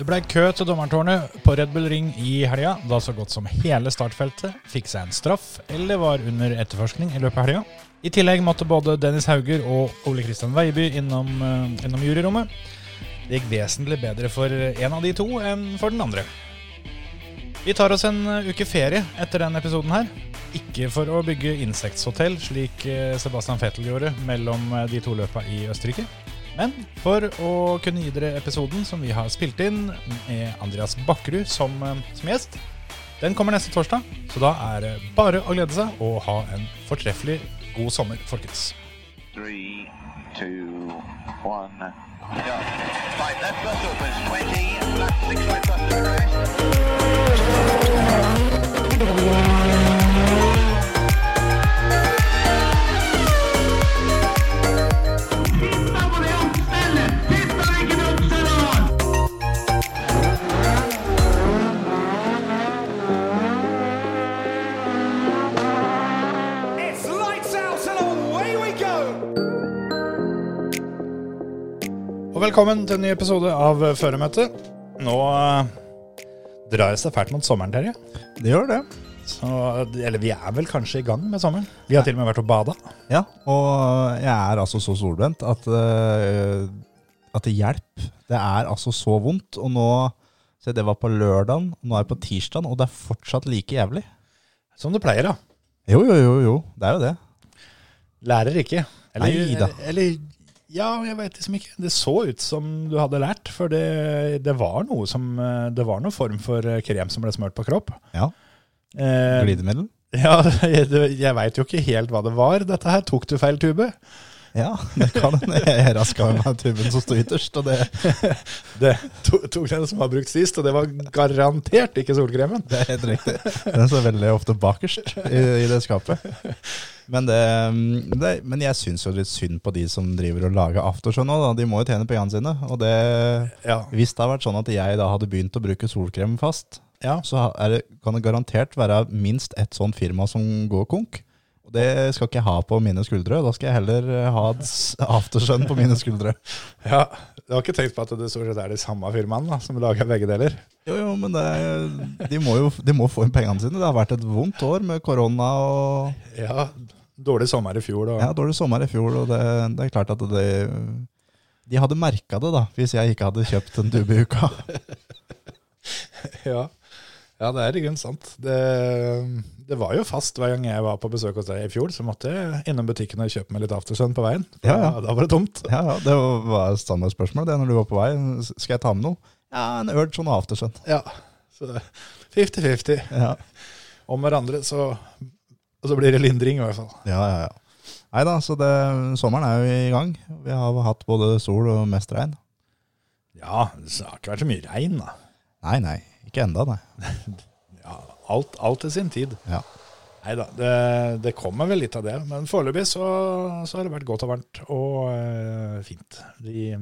Det ble kø til dommertårnet på Red Bull Ring i helga, da så godt som hele startfeltet fikk seg en straff eller var under etterforskning i løpet av helga. I tillegg måtte både Dennis Hauger og Ole Kristian Veiby innom, eh, innom juryrommet. Det gikk vesentlig bedre for en av de to enn for den andre. Vi tar oss en eh, uke ferie etter denne episoden her. Ikke for å bygge insektshotell, slik eh, Sebastian Vettel gjorde mellom eh, de to løpa i Østerrike. Men for å kunne gi dere episoden som vi har spilt inn med Andreas Bakkerud som, eh, som gjest, den kommer neste torsdag. Så da er det bare å glede seg og ha en fortreffelig god sommer, folkens. Three, two, one, go. Five left bus opens, 20, left six right bus to arrest. Pizza på det oppstellet! Pizza er ikke noe oppstellet! It's lights out and away we go! Og velkommen til en ny episode av Føremøtet. Nå eh, drar det seg fælt mot sommeren, Terje. Det gjør det. Så, eh, eller vi er vel kanskje i gang med sommeren. Vi har til og med vært og bada. Ja, og jeg er altså så solbrent at, eh, at det hjelp. Det er altså så vondt. Og nå Se, det var på lørdagen, nå er det på tirsdagen, og det er fortsatt like jævlig. Som det pleier, da. Jo, jo, jo, jo. Det er jo det. Lærer ikke. Nei da. eller Ja, jeg veit liksom ikke. Det så ut som du hadde lært, for det, det var noe som eh, Det var noen form for eh, krem som ble smurt på kropp. Ja. Eh, Glidemiddel? ja, jeg, det- jeg veit jo ikke helt hva det var. Dette her tok du feil tube. Ja, det kan hende. Jeg raska med meg tuben som sto ytterst, og det, Det to, tok den som var brukt sist, og det var garantert ikke solkremen. det er helt riktig. Den står veldig ofte bakerst i, i det skapet. Men, det, um, det, men jeg syns jo litt synd på de som driver og lager aftershow nå, da. De må jo tjene pengene sine, og det Ja. Hvis det hadde vært sånn at jeg da hadde begynt å bruke solkrem fast, Ja. så er det, kan det garantert være minst ett sånt firma som går konk. Og det skal ikke jeg ha på mine skuldre. Da skal jeg heller eh, ha et s- aftersun på mine skuldre. ja. Du har ikke tenkt på at det stort sett er de samme firmaene da, som lager begge deler? Jo, jo, men det, er- de må jo de må få inn pengene sine. Det har vært et vondt år med korona og Ja. Dårlig sommer i fjor, og ja, dårlig sommer i fjor, og det, det er klart at det De hadde merka det, da, hvis jeg ikke hadde kjøpt en dubbe i uka. Ja. ja, det er i grunnen sant. Det, det var jo fast hver gang jeg var på besøk hos deg i fjor, så måtte jeg innom butikken og kjøpe meg litt aftersun på veien. Ja, ja. Da var det tomt. Ja, ja, det var et standardspørsmål det når du var på vei. Skal jeg ta med noe? Ja, en urge og en aftersun. Ja, så det- 50-50. Ja, Om hverandre, så, og så blir det lindring i hvert fall. ja, ja. ja. Nei da, så det, sommeren er jo i gang. Vi har hatt både sol og mest regn. Ja, det har ikke vært så mye regn, da. Nei, nei, ikke enda, nei. Ja, alt, alt til sin tid. Ja. Nei da, det, det kommer vel litt av det. Men foreløpig så, så har det vært godt og varmt og eh, fint. De,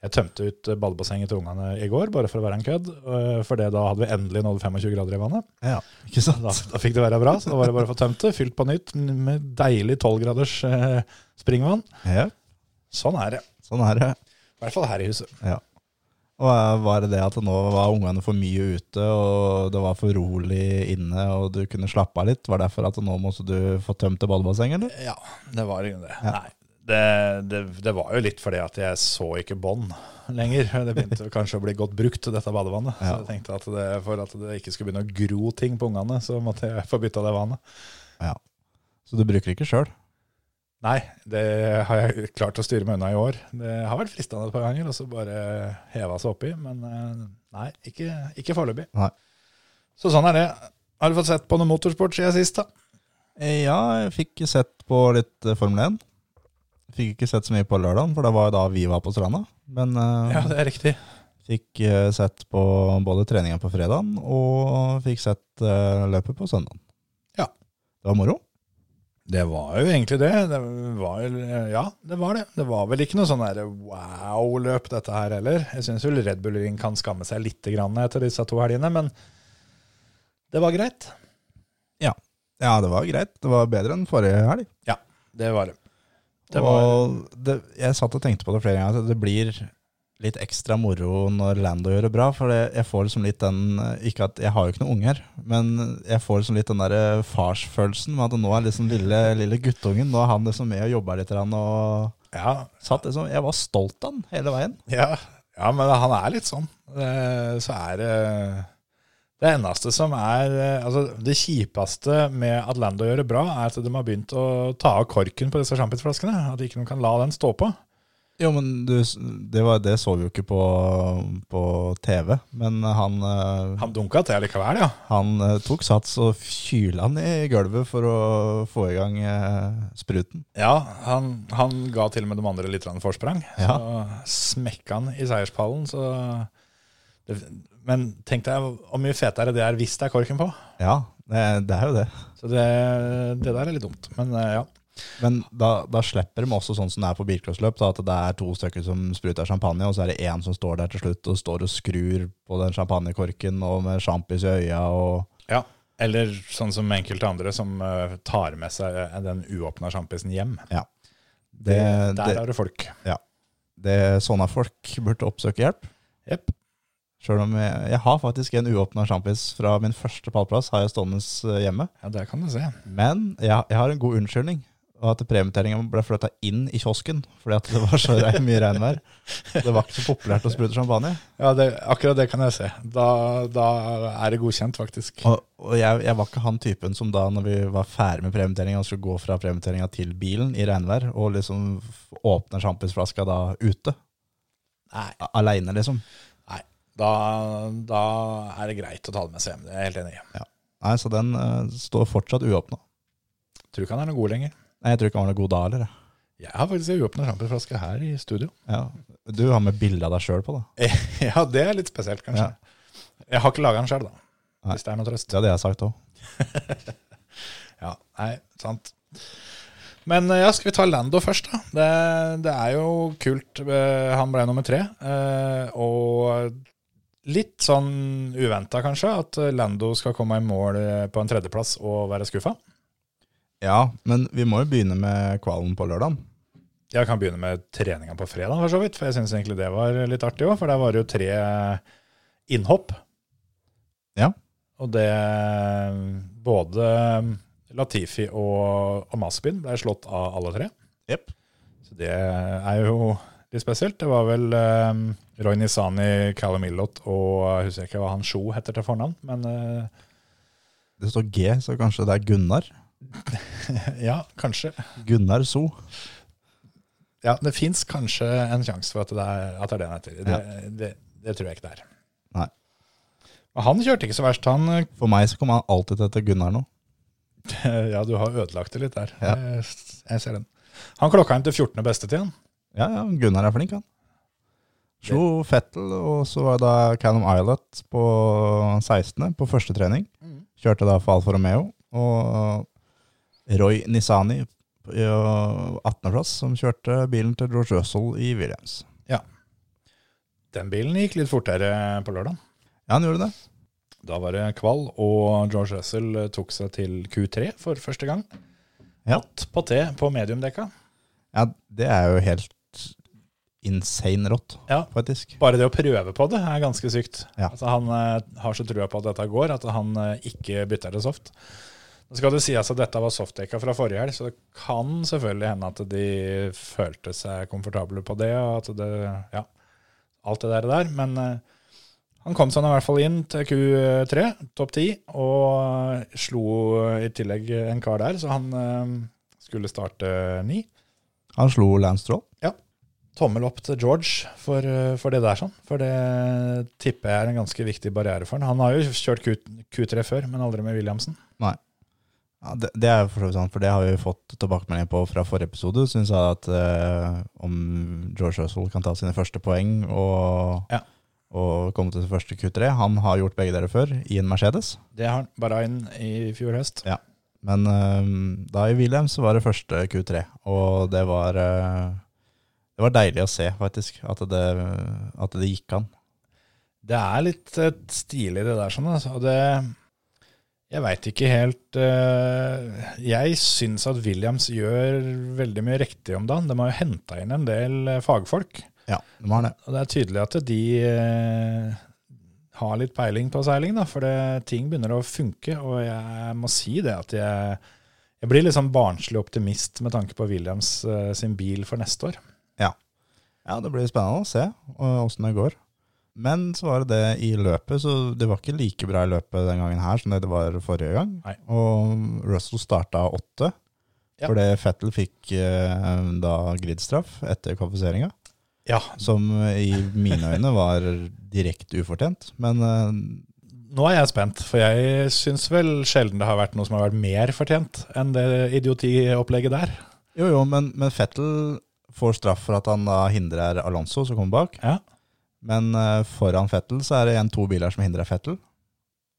jeg tømte ut badebassenget til ungene i går, bare for å være en kødd. eh, for det da hadde vi endelig nådd 25 grader i vannet. ja. Ikke sant? Da, da fikk det være bra, så da var det bare å få tømt det. Fylt på nytt med deilig 12-graders eh, springvann. Ja, Sånn er det. sånn er det. I hvert fall her i huset. Ja. Og eh, var det det at nå var ungene for mye ute, og det var for rolig inne, og du kunne slappe av litt? Var det derfor at nå måtte du få tømt det badebassenget, eller? Ja, det var jo det. Ja. Nei, det, det, det var jo litt fordi at jeg så ikke bånd lenger. Det begynte jo kanskje å bli godt brukt, dette badevannet. Så Ja. jeg tenkte at det, for at det ikke skulle begynne å gro ting på ungene, så måtte jeg få bytta det vannet. Ja. Så du bruker det ikke sjøl? Nei, det har jeg klart å styre meg unna i år. Det har vært fristende et par ganger, og så bare heva seg oppi. Men eh, nei, ikke, ikke foreløpig. Nei. Så sånn er det. Har du fått sett på noe motorsport siden sist, da? Eh, Ja, jeg fikk sett på litt eh, Formel 1. Fikk ikke sett så mye på lørdagen, for det var jo da vi var på stranda. Men eh, det er riktig. fikk eh, sett på både treninga på fredagen og fikk sett eh, løpet på søndagen. Ja. Det var moro. Det var jo egentlig det. det var, jo- ja, det var det. Det var vel ikke noe sånn der wow-løp, dette her heller. Jeg syns vel Red Bull Ring kan skamme seg litt grann etter disse to helgene, men det var greit. Ja, det var greit. Det var bedre enn forrige helg. Ja, det var det. Det og det, jeg satt og tenkte på det flere ganger. At det blir litt ekstra moro når Lando gjør det bra. For det- jeg får liksom litt den Ikke at jeg har jo ikke noen unger, men jeg får liksom litt den der farsfølelsen med at nå er liksom lille, lille guttungen Nå er han liksom med og jobber litt. grann, Og Ja, satt liksom, jeg var stolt av han hele veien. Ja, ja men han er litt sånn. Eh, Så er det Det eneste som er eh, Altså, det kjipeste med at Lando gjør det bra, er at de har begynt å ta av korken på disse sjampisflaskene. At ikke noen kan la den stå på. Jo, men du, det, var, det så vi jo ikke på, på TV. Men han, eh, Han dunka til likevel, ja. han eh, tok sats og kyla han i gulvet for å få i gang eh, spruten. Ja, han, han ga til og med de andre litt grann forsprang. Ja. Så smekka han i seierspallen, så det, Men tenk deg hvor mye fetere det er hvis det er korken på. Ja, det, det er jo det. Så det, det der er litt dumt. Men eh, ja. Men da, da slipper de også sånn som det er på bilcrossløp, da, at det er to stykker som spruter champagne, og så er det én som står der til slutt og står og skrur på den champagnekorken og med sjampis i øya og Ja, eller sånn som enkelte andre som eh, tar med seg eh, den uåpna sjampisen hjem. Ja. Det, Det, det, der er det folk. ja. det, sånne folk burde oppsøke hjelp. Jepp. Sjøl om jeg, jeg har faktisk en uåpna sjampis fra min første pallplass, har jeg stående eh, hjemme. Ja, der kan du se. Men jeg, jeg har en god unnskyldning. Og at premietellingen ble flytta inn i kiosken fordi at det var så re- mye regnvær. Det var ikke så populært å sprute champagne. Ja, det, akkurat det kan jeg se. Da, da er det godkjent, faktisk. Og, og jeg, jeg var ikke han typen som da når vi var ferdig med premietellingen og skulle gå fra premietellingen til bilen i regnvær, og liksom f- åpner sjampisflaska da ute. Nei. A- Aleine, liksom. Nei. Da, da er det greit å ta det med seg hjem. Det er jeg helt enig i. Nei, Så den eh, står fortsatt uåpna. Tror ikke han er noe god lenger. Nei, Jeg tror ikke han var noe god da heller. jeg. Jeg har faktisk en uåpna sjampisflaske her i studio. Ja. Du har med bilde av deg sjøl på, da. Ja, det er litt spesielt, kanskje. Jeg har ikke laga den sjøl, da. Nei. Hvis det er noe trøst. Det hadde jeg sagt òg. Ja, nei, sant. Men eh, ja, skal vi ta Lando først, da? Det, det er jo kult. eh, Han ble nummer tre. eh, Og litt sånn uventa, kanskje, at eh, Lando skal komme i mål eh, på en tredjeplass og være skuffa. Ja, men vi må jo begynne med kvalen på lørdag. Jeg kan begynne med treninga på fredag, for så vidt. For jeg syns egentlig det var litt artig òg, for der var det jo tre innhopp. Ja. Og det Både Latifi og, og Masbin ble slått av alle tre. Jepp. Så det er jo litt spesielt. Det var vel um, Roy Nisani, Callum Illot og jeg husker ikke hva han Sjo heter til fornavn, men eh, Det står G, så kanskje det er Gunnar. ja, kanskje. Gunnar So. Ja, det fins kanskje en sjanse for at det er, at det er det han heter. Det, det, det tror jeg ikke det er. Nei. Men han kjørte ikke så verst, han. eh, For meg så kommer han alltid til å hete Gunnar nå. Ja, du har ødelagt det litt der. Ja. Jeg, jeg ser den. Han klokka inn til 14. beste til han. Ja, ja, Gunnar er flink, han. Slo Fettel, og så var da Callum Islet på 16. på første trening. Kjørte da for Alfa Romeo. Og Roy Nisani på 18.-plass, som kjørte bilen til George Russell i Williams. Den bilen gikk litt fortere på lørdag. Ja, han gjorde det. Da var det kvall, og George Russell eh, tok seg til Q3 for første gang. Ja. Hatt på T på mediumdekka. Ja, Det er jo helt insane rått, Ja. faktisk. Bare det å prøve på det er ganske sykt. Ja. Altså, han eh, har så trua på at dette går, at han eh, ikke bytter til soft. Nå skal det sies at dette var softdekka fra forrige helg, så det kan selvfølgelig hende at de følte seg komfortable på det. og at det, ja, alt det der, der. Men eh, han kom seg nå i hvert fall inn til Q3, topp 10, og slo eh, i tillegg en kar der, så han eh, skulle starte ni. Han slo Lance Stroll. tommel opp til George for, eh, for det der, sånn. For det tipper jeg er en ganske viktig barriere for han. Han har jo kjørt Q, Q3 før, men aldri med Williamsen. Ja, det, det er jo for så vidt sant, for det har vi jo fått tilbakemelding på fra forrige episode. Syns jeg at eh, om George Russell kan ta sine første poeng og, Ja. og komme til sin første Q3 Han har gjort begge deler før, i en Mercedes. Det har han bare inn i fjor høst. Men eh, da i Williams så var det første Q3, og det var eh, Det var deilig å se, faktisk, at det, at det gikk an. Det er litt eh, stilig det der, sånn. Altså. Og det Jeg veit ikke helt eh, Jeg syns at Williams gjør veldig mye riktig om dagen. De har jo henta inn en del eh, fagfolk. Ja, de har det. Og det er tydelig at de eh, har litt peiling på seiling, da, for det, ting begynner å funke. Og jeg må si det at jeg, jeg blir litt sånn barnslig optimist med tanke på Williams eh, sin bil for neste år. Ja, det blir spennende å se eh, åssen det går. Men så var det det i løpet, så det var ikke like bra i løpet den gangen her som det det var forrige gang. Nei. Og Russell starta åtte, Ja. fordi Fettel fikk eh, da gridstraff etter kvalifiseringa. Ja, Som i mine øyne var direkte ufortjent, men eh, nå er jeg spent, for jeg syns vel sjelden det har vært noe som har vært mer fortjent enn det idiotiopplegget der. Jo, jo, men, men Fettel får straff for at han da hindrer Alonso, som kommer bak. Ja. Men eh, foran Fettel så er det igjen to biler som hindrer Fettel.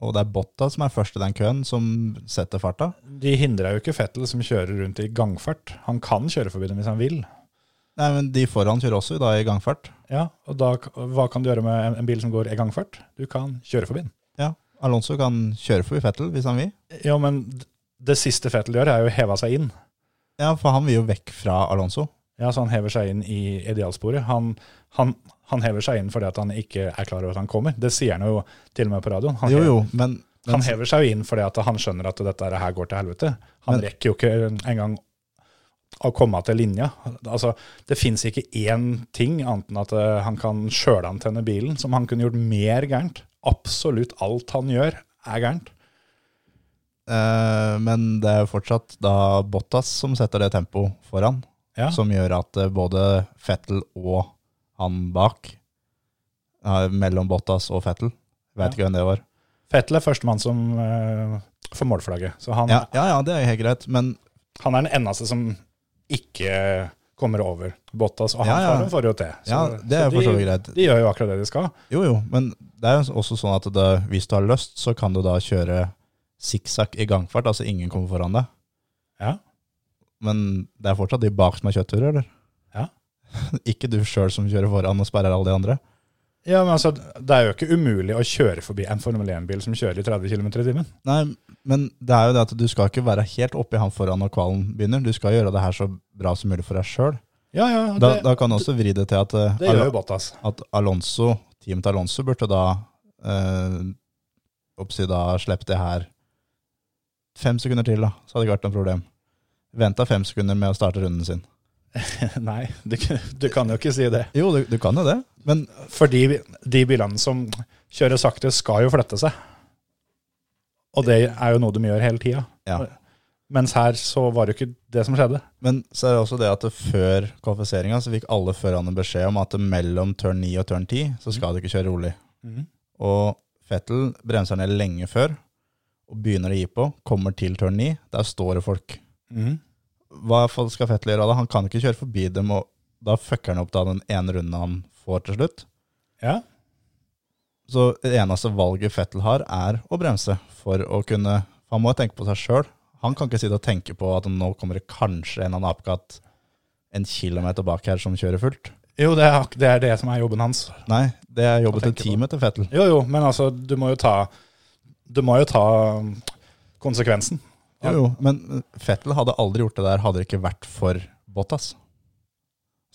Og det er Botta som er først i den køen, som setter farta. De hindrer jo ikke Fettel som kjører rundt i gangfart. Han kan kjøre forbi dem hvis han vil. Nei, men de foran kjører også da i gangfart. Ja, og da, Hva kan du gjøre med en, en bil som går i gangfart? Du kan kjøre forbi den. Ja, Alonso kan kjøre forbi Fettel hvis han vil. Ja, men d- det siste Fettel gjør, er jo å heve seg inn. Ja, for han vil jo vekk fra Alonso. Ja, så Han hever seg inn i idealsporet. Han, han, han hever seg inn fordi at han ikke er klar over at han kommer. Det sier han jo til og med på radioen. Han, Jo, hever- jo, men, men han hever seg jo inn fordi at han skjønner at dette her går til helvete. Han Men- rekker jo ikke engang å komme til linja. Altså, Det fins ikke én ting annet enn at eh, han kan sjølantenne bilen, som han kunne gjort mer gærent. Absolutt alt han gjør, er gærent. eh, men det er jo fortsatt da Bottas som setter det tempoet foran, Ja. som gjør at eh, både Fettel og han bak, eh, mellom Bottas og Fettel, vet Ja. ikke hvem det var. Fettel er førstemann som eh, får målflagget. Så han, Ja, ja, ja, det er helt greit, men han er den eneste som ikke kommer over Bottas, og Ja, han ja. får- får jo til. Så, Ja, det er så jo for så de- vidt greit. De gjør jo akkurat det de skal. Jo, jo, men det er jo også sånn at det, hvis du har lyst, så kan du da kjøre sikksakk i gangfart, altså ingen kommer foran deg. Ja. Men det er fortsatt de bak som har kjøttur, eller? Ja. ikke du sjøl som kjører foran og sperrer alle de andre. Ja, men altså, Det er jo ikke umulig å kjøre forbi en Formel 1-bil som kjører i 30 km i timen. Nei, men det er jo det at du skal ikke være helt oppi han foran når kvalen begynner. Du skal gjøre det her så bra som mulig for deg sjøl. Ja, ja, det, Da, da kan du også vri det til at, eh, det gjør jo Bottas. at Alonso, teamet til Alonso burde da eh, oppsi da slippe det her fem sekunder til, da. Så hadde det ikke vært noe problem. Venta fem sekunder med å starte runden sin. Nei, du, du kan jo ikke si det. Jo, du, du kan jo det, men Fordi de bilene som kjører sakte, skal jo flytte seg. Og det er jo noe de gjør hele tida. ja. Mens her så var det jo ikke det som skjedde. Men så er det også det at det før kvalifiseringa så fikk alle førerne beskjed om at det mellom turn 9 og turn 10 så skal du ikke kjøre rolig. Mhm. Og Fettel bremser ned lenge før og begynner å gi på. Kommer til turn 9, der står det folk. Mhm. Hva skal Fettel gjøre da? Han kan ikke kjøre forbi dem, og da fucker han opp da den ene runden han får til slutt. Ja. Så det eneste valget Fettel har, er å bremse for å kunne for Han må jo tenke på seg sjøl. Han kan ikke sitte og tenke på at nå kommer det kanskje en eller annen apekatt en kilometer bak her som kjører fullt. Jo, det er, ak- det er det som er jobben hans. Nei, det er jobben Han til tenker på teamet til Fettel. Jo, jo, men altså, du må jo ta Du må jo ta um, konsekvensen. Jo, jo, men Fettel hadde aldri gjort det der hadde det ikke vært for Bottas.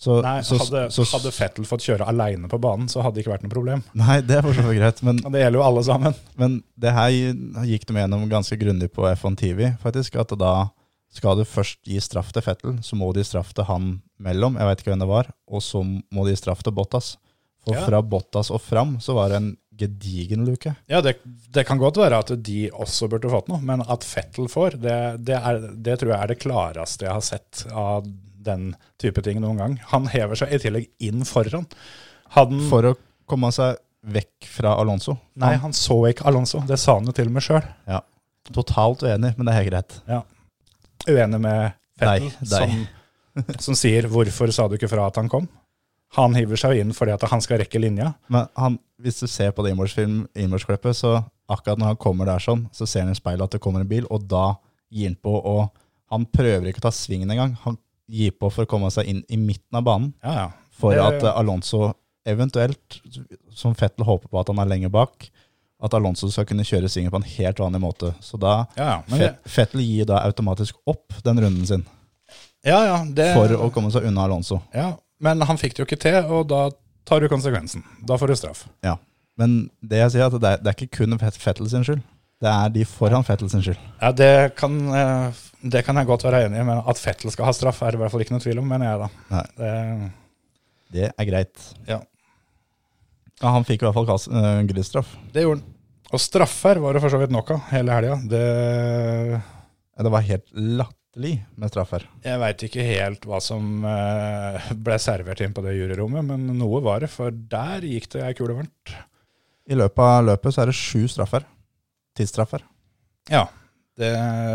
Så, Nei, så- hadde, så- hadde Fettel fått kjøre aleine på banen, så hadde det ikke vært noe problem. Nei, det er for så vidt greit, men Og det gjelder jo alle sammen. Men det her gikk de gjennom ganske grundig på F1 TV, faktisk. At da skal du først gi straff til Fettel, så må de gi straff til han mellom, jeg veit ikke hvem det var, og så må de gi straff til Bottas. For Ja. fra Bottas og fram så var det en gedigen luke. Ja, det, det kan godt være at de også burde fått noe, men at Fettel får, det, det, er, det tror jeg er det klareste jeg har sett av den type ting noen gang. Han hever seg i tillegg inn foran. Hadde han For å komme seg vekk fra Alonso. Nei, han så ikke Alonso. Det sa han jo til og med sjøl. Ja. Totalt uenig, men det er helt greit. Uenig med Fettel, Deg, deg. som, som sier 'hvorfor sa du ikke fra at han kom'? Han hiver seg jo inn fordi at han skal rekke linja. Men han, hvis du ser på det innmålsklippet, så akkurat når han kommer der sånn, så ser han i speilet at det kommer en bil, og da gir han på, og han prøver ikke å ta svingen engang. Han gir på for å komme seg inn i midten av banen, Ja, ja. for Det- at eh, Alonso eventuelt, som Fettel håper på at han er lenge bak, at Alonso skal kunne kjøre svingen på en helt vanlig måte. Så da Ja, ja, men det- Fet- Fettel gir da automatisk opp den runden sin Ja, ja, det, for å komme seg unna Alonso. ja, Men han fikk det jo ikke til, og da tar du konsekvensen. Da får du straff. Ja. Men det jeg sier er at det er, det er ikke kun Fet- Fettel sin skyld. Det er de foran Fettel sin skyld. Ja, det kan, eh, det kan jeg godt være enig i, men at Fettel skal ha straff, er det i hvert fall ikke noe tvil om, mener jeg da. Nei. Det, Det er greit. ja, Ja, han fikk i hvert fall kass, øh, grisstraff. det gjorde han. Og straffer var det for så vidt nok av hele helga. Det Ja, Det var helt latterlig med straff her. Jeg veit ikke helt hva som eh, ble servert inn på det juryrommet, men noe var det, for der gikk det ei kule varmt. I løpet av løpet så er det sju straffer. Tidsstraffer. Ja, det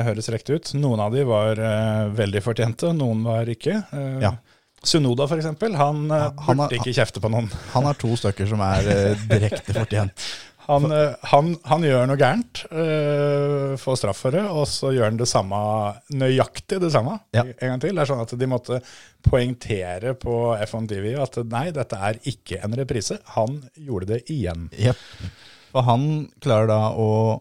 høres riktig ut. Noen av de var eh, veldig fortjente, noen var ikke. Eh, Ja. Sunoda, for eksempel, han, eh, Han- han har- burde ikke kjefte på noen. Han har to stykker som er øh, direkte fortjent. Han, eh, han, han gjør noe gærent, eh, får straff for det, og så gjør han det samme, nøyaktig det samme Ja. en gang til. Det er sånn at de måtte poengtere på F1 TV at nei, dette er ikke en reprise. Han gjorde det igjen. Jepp. For han klarer da å,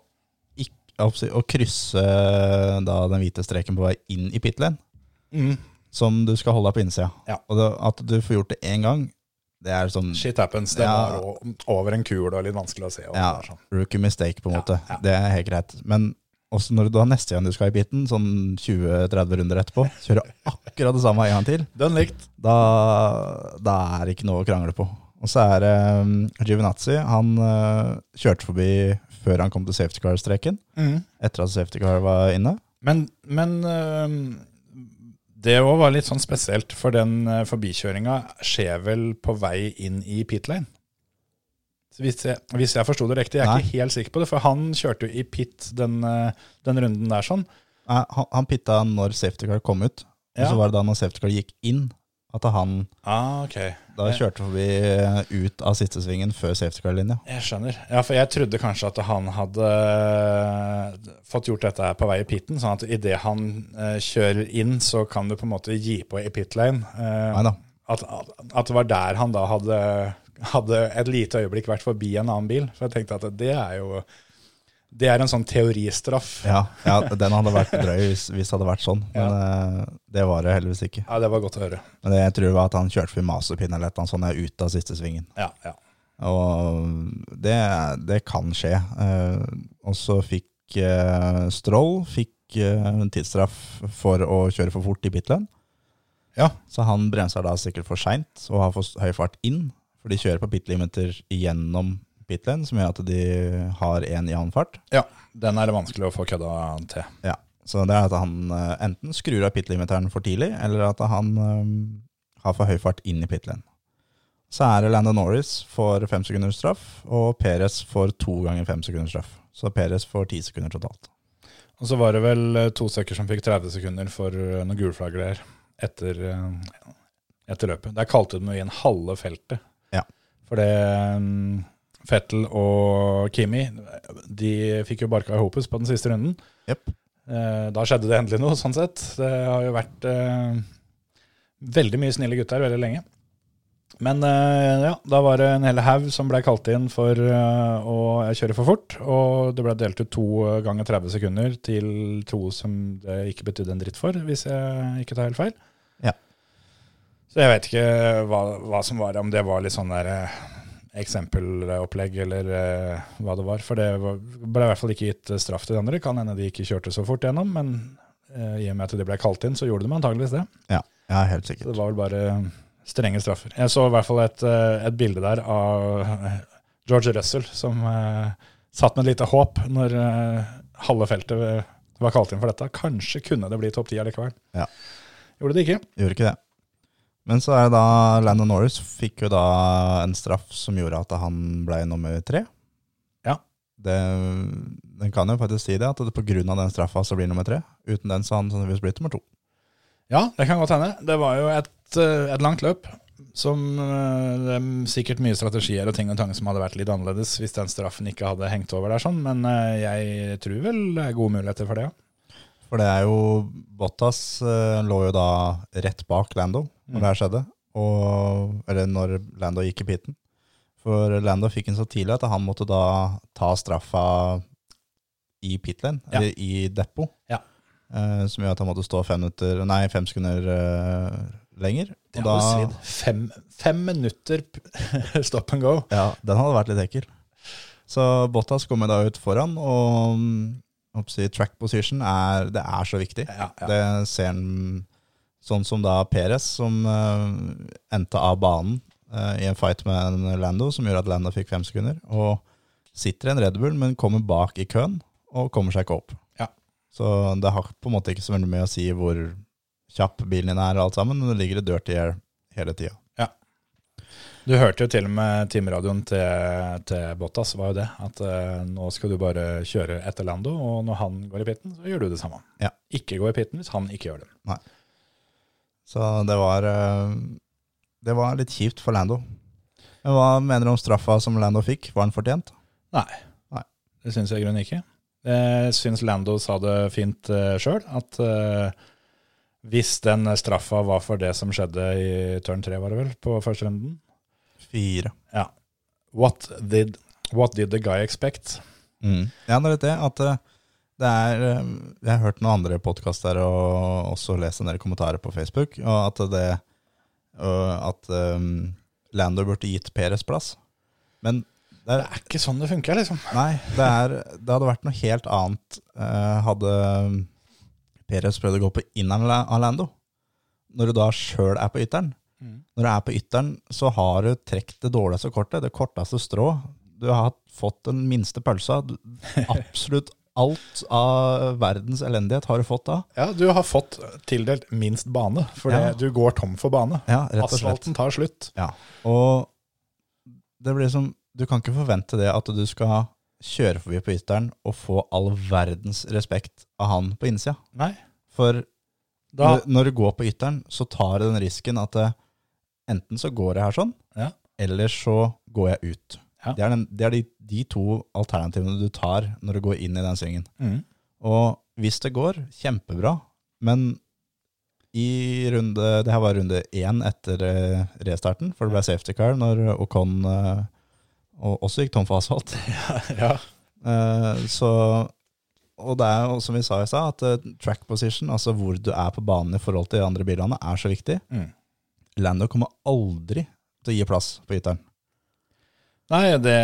ikk, jeg holdt på å si, å krysse eh, da den hvite streken på vei inn i pit lane, Mm. som du skal holde deg på innsida. Ja. Og det, at du får gjort det én gang, det er sånn Shit happens. Det Ja. var o- over en kul og litt vanskelig å se. og ja, det er sånn. rookie mistake, på en Ja, måte. ja. Det er helt greit. Men også når du da neste gang du skal i piten, sånn 20-30 runder etterpå, kjører akkurat det samme en gang til, Den likt. da, da er det ikke noe å krangle på. Og så er det um, Giovinazzi. Han eh, kjørte forbi før han kom til safety car-streken. Mm. Etter at safety car var inne. Men, men øhm, det òg var litt sånn spesielt, for den øh, forbikjøringa skjer vel på vei inn i pit lane. Så Hvis jeg, hvis jeg forsto det riktig, jeg er ikke helt sikker på det, for han kjørte jo i pit den, øh, den runden der sånn. Nei, Eh, han, han pitta når safety car kom ut, og Ja. så var det da når safety car gikk inn, at han Ah, ok. da kjørte forbi eh, ut av siste svingen før safety car-linja. Jeg skjønner. Ja, for jeg trodde kanskje at han hadde øh, fått gjort dette her på vei i pitten, sånn at idet han eh, kjører inn, så kan du på en måte gi på i pit lane. Eh, Nei da. at, at det var der han da hadde, hadde et lite øyeblikk vært forbi en annen bil. For jeg tenkte at det er jo Det er en sånn teoristraff. Ja, Ja, ja, den hadde vært drøy hvis, hvis det hadde vært sånn, men eh, det var det heldigvis ikke. det var godt å høre. Men det jeg tror var at han kjørte forbi masepinn eller et eller annet sånt, eh, ut av siste svingen. Ja, ja. Og det, det kan skje. Eh, og så fikk eh, Stroll fikk eh, en tidsstraff for å kjøre for fort i bitlane. Ja. Så han bremser da sikkert for seint og har for s- høy fart inn. For de kjører på pitlimiter gjennom pitlane, som gjør at de har én jevn fart. ja. Den er det vanskelig å få kødda til. Ja. Så det er at han eh, enten skrur av pitlimiteren for tidlig, eller at han eh, har for høy fart inn i pitlane. Så er det Landon Norris får fem sekunders straff, og Perez får to ganger fem sekunders straff. Så Perez får ti sekunder totalt. Og så var det vel eh, to stykker som fikk 30 sekunder for eh, noen gulflagler etter, eh, etter løpet. Der kalte de jo inn halve feltet. Ja. For det mm, Fettel og Kimi de fikk jo barka i hopus på den siste runden. Jepp. Eh, Da skjedde det endelig noe, sånn sett. Det har jo vært eh, veldig mye snille gutter veldig lenge. Men eh, ja, da var det en hel haug som ble kalt inn for eh, å kjøre for fort. Og det ble delt ut to ganger 30 sekunder til to som det ikke betydde en dritt for, hvis jeg ikke tar helt feil. Ja. Så jeg vet ikke hva, hva som var, om det var litt sånn der eh, eksempelopplegg eller eh, hva det var. For det var, ble i hvert fall ikke gitt eh, straff til de andre. Kan hende de ikke kjørte så fort gjennom, men eh, i og med at de ble kalt inn, så gjorde de antageligvis det. Ja, ja helt Så sikkert. det var vel bare eh, strenge straffer. Jeg så i hvert fall et, eh, et bilde der av eh, George Russell som eh, satt med et lite håp når eh, halve feltet eh, var kalt inn for dette. Kanskje kunne det bli topp ti allikevel. Ja. Gjorde det ikke. Gjorde ikke det. Men så er det da Landon Norris fikk jo da en straff som gjorde at han ble nummer tre. Ja. Det, den kan jo faktisk si det, at det på grunn av den straffa så blir han nummer tre. Uten den så har han sannsynligvis blitt nummer to. Ja, det kan godt hende. Det var jo et, eh, et langt løp. Som eh, det er sikkert mye strategier og ting og tang som hadde vært litt annerledes hvis den straffen ikke hadde hengt over der sånn, men eh, jeg tror vel det er gode muligheter for det, ja. For det er jo Bottas eh, lå jo da rett bak Lando når Mm. det her skjedde. Og, eller når Lando gikk i piten. For Lando fikk en så tidlig at han måtte da ta straffa i pitlane, Ja. eller i depot. Ja. Eh, som gjør at han måtte stå fem, minutter, nei, fem sekunder eh, lenger. Det har Og da- jo svidd. Fem, fem minutter p- stop and go. Ja, den hadde vært litt ekkel. Så Bottas kommer da ut foran, og mm, hoppsi, track position er, det er så viktig. Ja, ja. Det ser han sånn som da Perez, som eh, endte av banen eh, i en fight med en Lando, som gjorde at Lando fikk fem sekunder. Og sitter i en Red Bull, men kommer bak i køen, og kommer seg ikke opp. Ja. Så det har på en måte ikke så veldig mye å si hvor kjapp bilen din er, og alt sammen, men det ligger i dirty air hele tida. Du hørte jo til og med teamradioen til, til Bottas, var jo det. At eh, nå skal du bare kjøre etter Lando, og når han går i pitten, så gjør du det samme. Ja. Ikke gå i pitten hvis han ikke gjør det. Så det var eh, Det var litt kjipt for Lando. Men hva mener du om straffa som Lando fikk? Var den fortjent? Nei. Nei. Det syns jeg i grunnen ikke. Jeg syns Lando sa det fint uh, sjøl, at eh, hvis den straffa var for det som skjedde i turn tre, var det vel, på første runden Fire. Ja. What did, what did the guy expect? Mm. Ja, det er litt det. At eh, det er eh, Jeg har hørt noen andre podkaster og også lest en del kommentarer på Facebook, og at det og At eh, Lando burde gitt Peres plass. Men det er Det er ikke sånn det funker, liksom. Nei, det, er, det hadde vært noe helt annet eh, hadde Perez prøvd å gå på inneren la- av Lando. Når du da sjøl er på ytteren. Mm. Når du er på ytteren, så har du trukket det dårligste kortet, det korteste strå. Du har fått den minste pølsa. Du- Absolutt alt av verdens elendighet har du fått da. Ja, du har fått tildelt minst bane, fordi Ja. du går tom for bane. Ja, rett og slett. Asfalten tar slutt. Ja. Og det blir som Du kan ikke forvente det at du skal kjøre forbi på ytteren og få all verdens respekt av han på innsida. Nei. For Da, Når, når du går på ytteren, så tar du den risken at eh, enten så går jeg her sånn, Ja. eller så går jeg ut. Ja. Det er, den, det er de, de to alternativene du tar når du går inn i den svingen. Mhm. Og hvis det går, kjempebra, men i runde, det her var runde én etter eh, restarten, for det ble safety car når Ocon eh, og også gikk tom for asfalt. Mm. ja. Eh, så, og det er jo som vi sa i stad, at eh, track position, altså hvor du er på banen i forhold til de andre bilene, er så viktig. Mm. Lando kommer aldri til å gi plass på ytteren. Nei, det,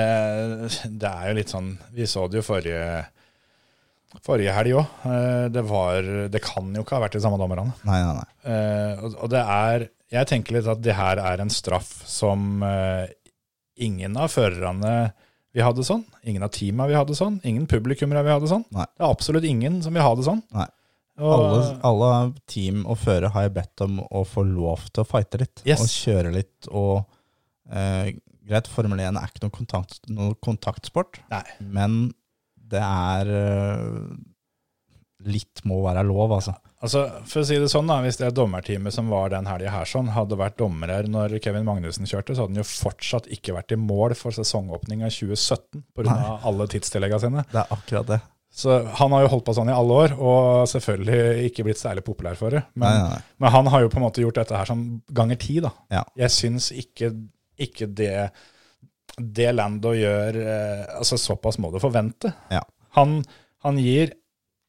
det er jo litt sånn Vi så det jo forrige, forrige helg òg. Det, var- det kan jo ikke ha vært de samme dommerne. Nei, nei, nei. Eh, og, og det er Jeg tenker litt at det her er en straff som eh, ingen av førerne vil ha det sånn. Ingen av teama vil ha det sånn. Ingen publikummere vil ha det sånn. Nei. Det er absolutt ingen som vil ha det sånn. Nei. Og, Alle, alle team og førere har jo bedt om å få lov til å fighte litt, Yes. og kjøre litt, og eh, greit, Formel 1 er ikke noen, kontakt, noen kontaktsport, Nei. men det er eh, Litt må være lov, altså. Altså, for å si det sånn da, Hvis det dommerteamet som var den helga her, sånn, hadde vært dommere når Kevin Magnussen kjørte, så hadde han jo fortsatt ikke vært i mål for sesongåpninga 2017 pga. alle tidstilleggene sine. Det er akkurat det. Så Han har jo holdt på sånn i alle år, og selvfølgelig ikke blitt særlig populær for det. Men, Nei, nei, nei. men han har jo på en måte gjort dette her sånn ganger ti. da. Ja. Jeg syns ikke, ikke det, det Lando gjør eh, altså Såpass må du forvente. Ja. Han, han gir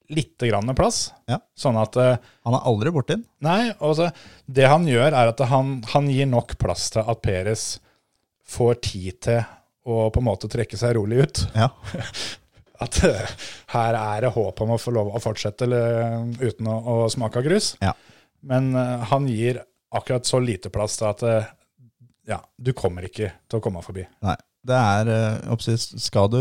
lite grann plass, Ja. sånn at eh, Han er aldri borti den. Nei, altså, det han gjør er at han, han gir nok plass til at Peres får tid til å på en måte trekke seg rolig ut. Ja. At eh, her er det håp om å få lov å fortsette eller, eh, uten å, å smake av grus. Ja. Men eh, han gir akkurat så lite plass til at eh, ja, du kommer ikke til å komme forbi. Nei. Det er eh, oppsi- skal du,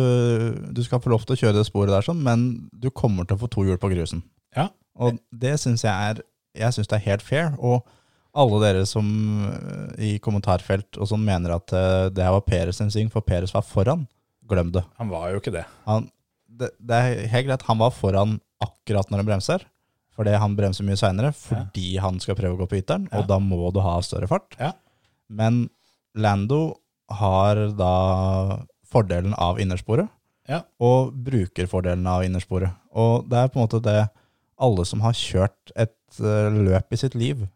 du skal få lov til å kjøre det sporet der, sånn, men du kommer til å få to hjul på grusen. Ja. Og det syns jeg er Jeg synes det er helt fair. Og alle dere som eh, i kommentarfelt og sånn mener at eh, det her var Peres sin sving, for Peres var foran, glem det. Han var jo ikke det. Han, det. Det er helt greit. Han var foran akkurat når han bremser, fordi han bremser mye seinere fordi han skal prøve å gå på ytteren, og da må du ha større fart. Ja. Men Lando har da fordelen av innersporet, Ja. og bruker fordelen av innersporet. Og det er på en måte det alle som har kjørt et eh, løp i sitt liv,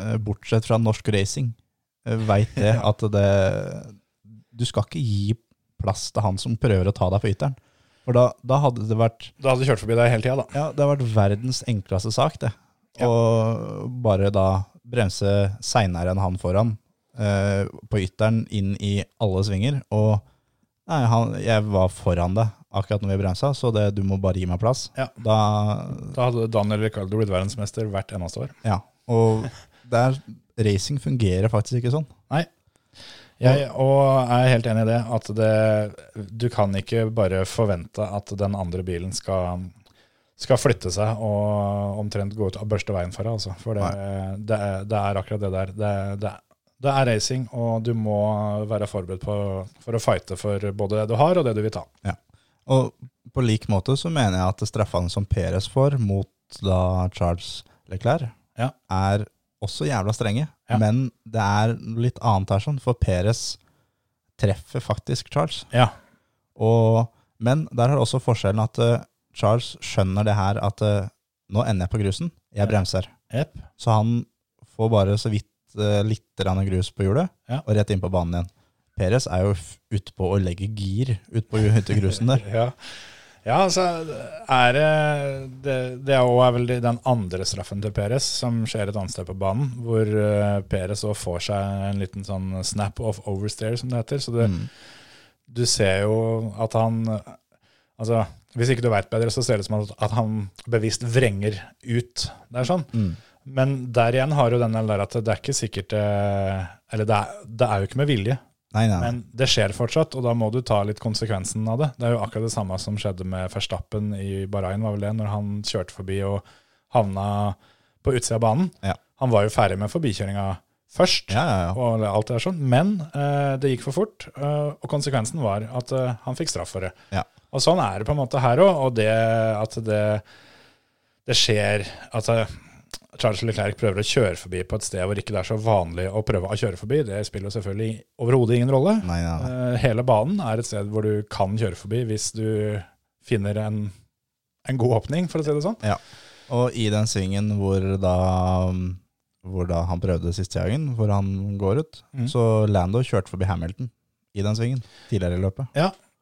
eh, bortsett fra norsk racing, eh, vet det at det Du skal ikke gi plass til han som prøver å ta deg på ytteren. For da, da hadde det vært Da hadde du kjørt forbi deg hele tida, da. ja, det har vært verdens enkleste sak, det. Ja. Og bare da bremse seinere enn han foran eh, på ytteren inn i alle svinger. Og nei, han, jeg var foran deg akkurat når vi bremsa, så det, du må bare gi meg plass. Ja. Da, Da hadde Daniel Ricardo blitt verdensmester hvert eneste år. ja. Og der, racing fungerer faktisk ikke sånn. Nei. Jeg og er helt enig i det. At det, du kan ikke bare forvente at den andre bilen skal, skal flytte seg og omtrent gå ut og børste veien for deg. Altså. For det, det, er, det er akkurat det der. Det, det, det er racing, og du må være forberedt på, for å fighte for både det du har, og det du vil ta. Og på lik måte så mener jeg at straffene som Perez får mot da Charles Leclerc, Ja. er også jævla strenge. Ja. Men det er noe litt annet her, sånn, for Perez treffer faktisk Charles. Ja. Og, men der har også forskjellen at eh, Charles skjønner det her at eh, nå ender jeg på grusen, jeg bremser. Jepp. Så han får bare så vidt eh, litt grann grus på hjulet, Ja. og rett inn på banen igjen. Perez er jo f- utpå og legger gir utpå hyttegrusen der. Ja. Ja, altså er det Det, det er, også, er vel den andre straffen til Peres som skjer et annet sted på banen, hvor uh, Peres også får seg en liten sånn snap off oversteer, som det heter. Så det, Mm. du ser jo at han Altså, hvis ikke du veit bedre, så ser det ut som at, at han bevisst vrenger ut. Det er sånn. Mm. Men der igjen har jo den delen der at det er ikke sikkert eh, Eller det er, det er jo ikke med vilje. Nei, nei, nei. Men det skjer fortsatt, og da må du ta litt konsekvensen av det. Det er jo akkurat det samme som skjedde med Verstappen i Bahrain, var vel det, når han kjørte forbi og havna på utsida av banen. Ja. Han var jo ferdig med forbikjøringa først, Ja, ja, ja. og alt det der sånn, men eh, det gikk for fort, eh, og konsekvensen var at eh, han fikk straff for det. Ja. Og sånn er det på en måte her òg, og det at det, det skjer at eh, Charles Leclerc prøver å kjøre forbi på et sted hvor ikke det er så vanlig å prøve å kjøre forbi, det spiller jo selvfølgelig overhodet ingen rolle. Nei, nei, nei. Eh, Hele banen er et sted hvor du kan kjøre forbi hvis du finner en, en god åpning, for å si det sånn. Og i den svingen hvor da, hvor da han prøvde siste jagen, hvor han går ut, Mm. så Lando kjørte forbi Hamilton i den svingen tidligere i løpet.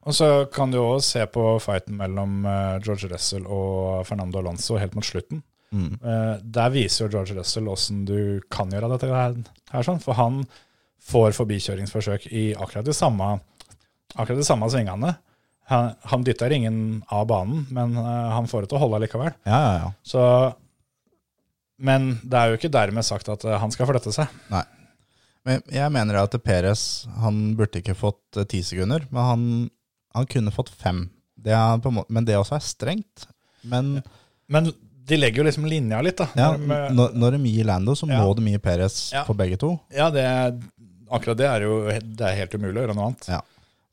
Og så kan du òg se på fighten mellom eh, George Russell og Fernando Alonso helt mot slutten. Mm. Eh, Der viser jo George Russell åssen du kan gjøre dette her, her sånn, for han får forbikjøringsforsøk i akkurat de samme, akkurat de samme svingene. Han, han dytter ingen av banen, men eh, han får det til å holde likevel. Ja, ja, ja. Så, men det er jo ikke dermed sagt at eh, han skal flytte seg. Men jeg mener at Perez, han burde ikke fått eh, ti sekunder, men han, han kunne fått fem. Det er på en måte, men det også er strengt. Men Men de legger jo liksom linja litt, da. ja, Når de- når, når de gir Lando, så Ja. må de gi Perez Ja. på begge to. ja det, er- akkurat det er jo he- det er helt umulig å gjøre noe annet. Ja.